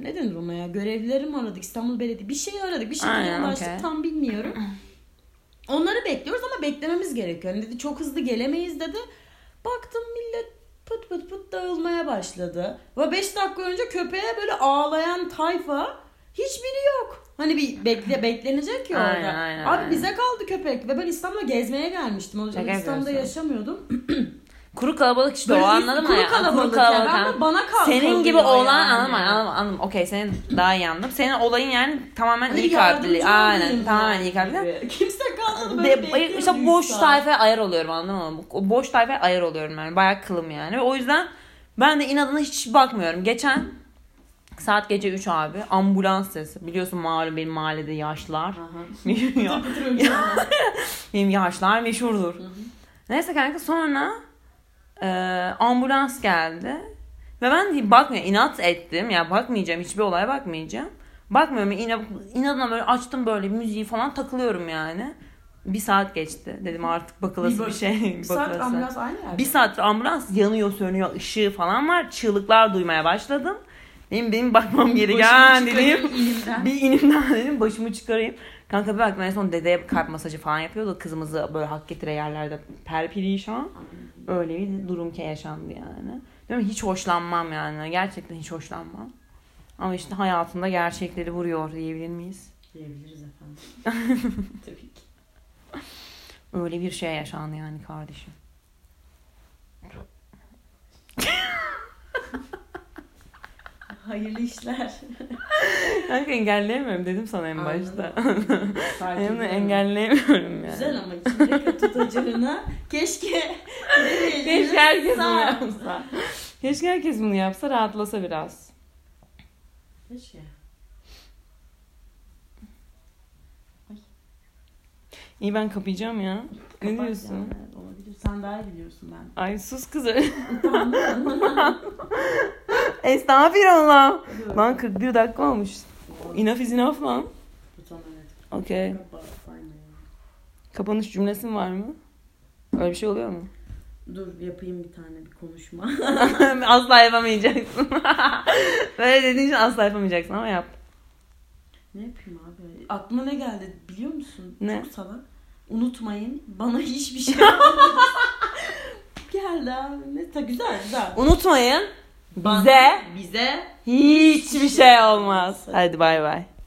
Speaker 3: Ne denir ona ya? Görevlileri mi aradık? İstanbul Belediye bir şey aradık. Bir şey
Speaker 2: Aynen,
Speaker 3: ulaştık
Speaker 2: okey.
Speaker 3: tam bilmiyorum. Onları bekliyoruz ama beklememiz gerekiyor. Hani dedi çok hızlı gelemeyiz dedi. Baktım millet pıt pıt pıt dağılmaya başladı. Ve 5 dakika önce köpeğe böyle ağlayan tayfa hiçbiri yok. Hani bir bekle beklenecek ya orada.
Speaker 2: Aynen, aynen,
Speaker 3: Abi
Speaker 2: aynen.
Speaker 3: bize kaldı köpek ve ben İstanbul'a gezmeye gelmiştim. O
Speaker 2: Şaka
Speaker 3: zaman İstanbul'da
Speaker 2: yapıyorsun.
Speaker 3: yaşamıyordum.
Speaker 2: Kuru kalabalık işte
Speaker 3: Böyle
Speaker 2: o anladın mı?
Speaker 3: kuru
Speaker 2: ya?
Speaker 3: kalabalık ya. Ben de
Speaker 2: ha.
Speaker 3: bana kalk
Speaker 2: Senin
Speaker 3: oluyor
Speaker 2: gibi olan
Speaker 3: yani.
Speaker 2: anladım
Speaker 3: Hani
Speaker 2: anladım anladım. Okey senin daha iyi anladım. Senin olayın yani tamamen
Speaker 3: Hani
Speaker 2: iyi
Speaker 3: yardımcı
Speaker 2: kalpli.
Speaker 3: olayım
Speaker 2: Aynen
Speaker 3: yani
Speaker 2: tamamen iyi kalpli.
Speaker 3: gibi. Kimse kalmadı böyle
Speaker 2: De,
Speaker 3: bekliyoruz
Speaker 2: işte
Speaker 3: üç
Speaker 2: boş
Speaker 3: saat.
Speaker 2: tayfaya ayar oluyorum anladın mı? O boş tayfaya ayar oluyorum yani. Bayağı kılım yani. Ve o yüzden ben de inadına hiç bakmıyorum. Geçen Saat gece 3 abi. Ambulans sesi. Biliyorsun malum benim mahallede yaşlılar.
Speaker 3: Aha.
Speaker 2: Bilmiyorum.
Speaker 3: Oturuyorum.
Speaker 2: Benim yaşlar meşhurdur.
Speaker 3: hı.
Speaker 2: Neyse kanka sonra e, ambulans geldi. Ve ben de bakmıyor inat ettim. Ya bakmayacağım hiçbir olaya bakmayacağım. Bakmıyorum ina, inadına böyle açtım böyle müziği falan takılıyorum yani. Bir saat geçti. Dedim artık bakılası
Speaker 3: Bir
Speaker 2: bir,
Speaker 3: bak-
Speaker 2: şey.
Speaker 5: Bir saat
Speaker 2: bakılası.
Speaker 5: ambulans aynı yerde.
Speaker 2: Bir saattir ambulans yanıyor sönüyor ışığı falan var. Çığlıklar duymaya başladım. Benim, benim bakmam
Speaker 3: Başımı
Speaker 2: gereken dedim.
Speaker 3: çıkarayım
Speaker 2: *laughs*
Speaker 3: elimden.
Speaker 2: Bir inimden dedim başımı çıkarayım. Kanka bir baktım en son dedeye kalp masajı falan yapıyordu. Kızımızı böyle hak getire yerlerde perperişan. Öyle bir durum ki yaşandı yani. Değil mi? Hiç hoşlanmam yani. Gerçekten hiç hoşlanmam. Ama işte hayatında gerçekleri vuruyor diyebilir miyiz?
Speaker 3: Diyebiliriz efendim.
Speaker 2: *laughs*
Speaker 3: Tabii ki.
Speaker 2: Öyle bir şey yaşandı yani kardeşim. *laughs*
Speaker 3: Hayırlı işler.
Speaker 2: Kanka engelleyemiyorum dedim sana en başta.
Speaker 3: Anladım. Fark
Speaker 2: *laughs* Hem de
Speaker 3: ediyorum.
Speaker 2: engelleyemiyorum yani.
Speaker 3: Güzel ama içinde kötü tacırını keşke
Speaker 2: Keşke herkes bunu
Speaker 3: Sağ-
Speaker 2: yapsa. Keşke herkes bunu yapsa rahatlasa biraz.
Speaker 3: Keşke.
Speaker 2: İyi ben kapayacağım ya. Ne
Speaker 3: Kapat
Speaker 2: diyorsun?
Speaker 3: yani, evet, Olabilir. Sen daha iyi biliyorsun ben.
Speaker 2: Ay sus kız.
Speaker 3: Tamam.
Speaker 2: *laughs* Estağfirullah.
Speaker 3: Hadi
Speaker 2: Lan
Speaker 3: bakalım.
Speaker 2: 41 dakika olmuş. Enough is enough lan.
Speaker 3: Tamam, evet.
Speaker 2: Okey.
Speaker 3: Kapat, aynen.
Speaker 2: Kapanış cümlesin var mı? Öyle bir şey oluyor mu? *laughs*
Speaker 3: Dur yapayım bir tane bir konuşma.
Speaker 2: asla yapamayacaksın. *laughs* Böyle dediğin için asla yapamayacaksın ama yap.
Speaker 3: ne yapayım abi? Aklıma ne geldi biliyor musun?
Speaker 2: Ne?
Speaker 3: Çok salak. Unutmayın bana hiçbir şey
Speaker 2: *laughs*
Speaker 3: geldi abi. Ne ta güzel güzel.
Speaker 2: Unutmayın.
Speaker 3: Bana-
Speaker 2: Bize
Speaker 3: bize
Speaker 2: hiçbir şey olmaz. Hadi bay bay.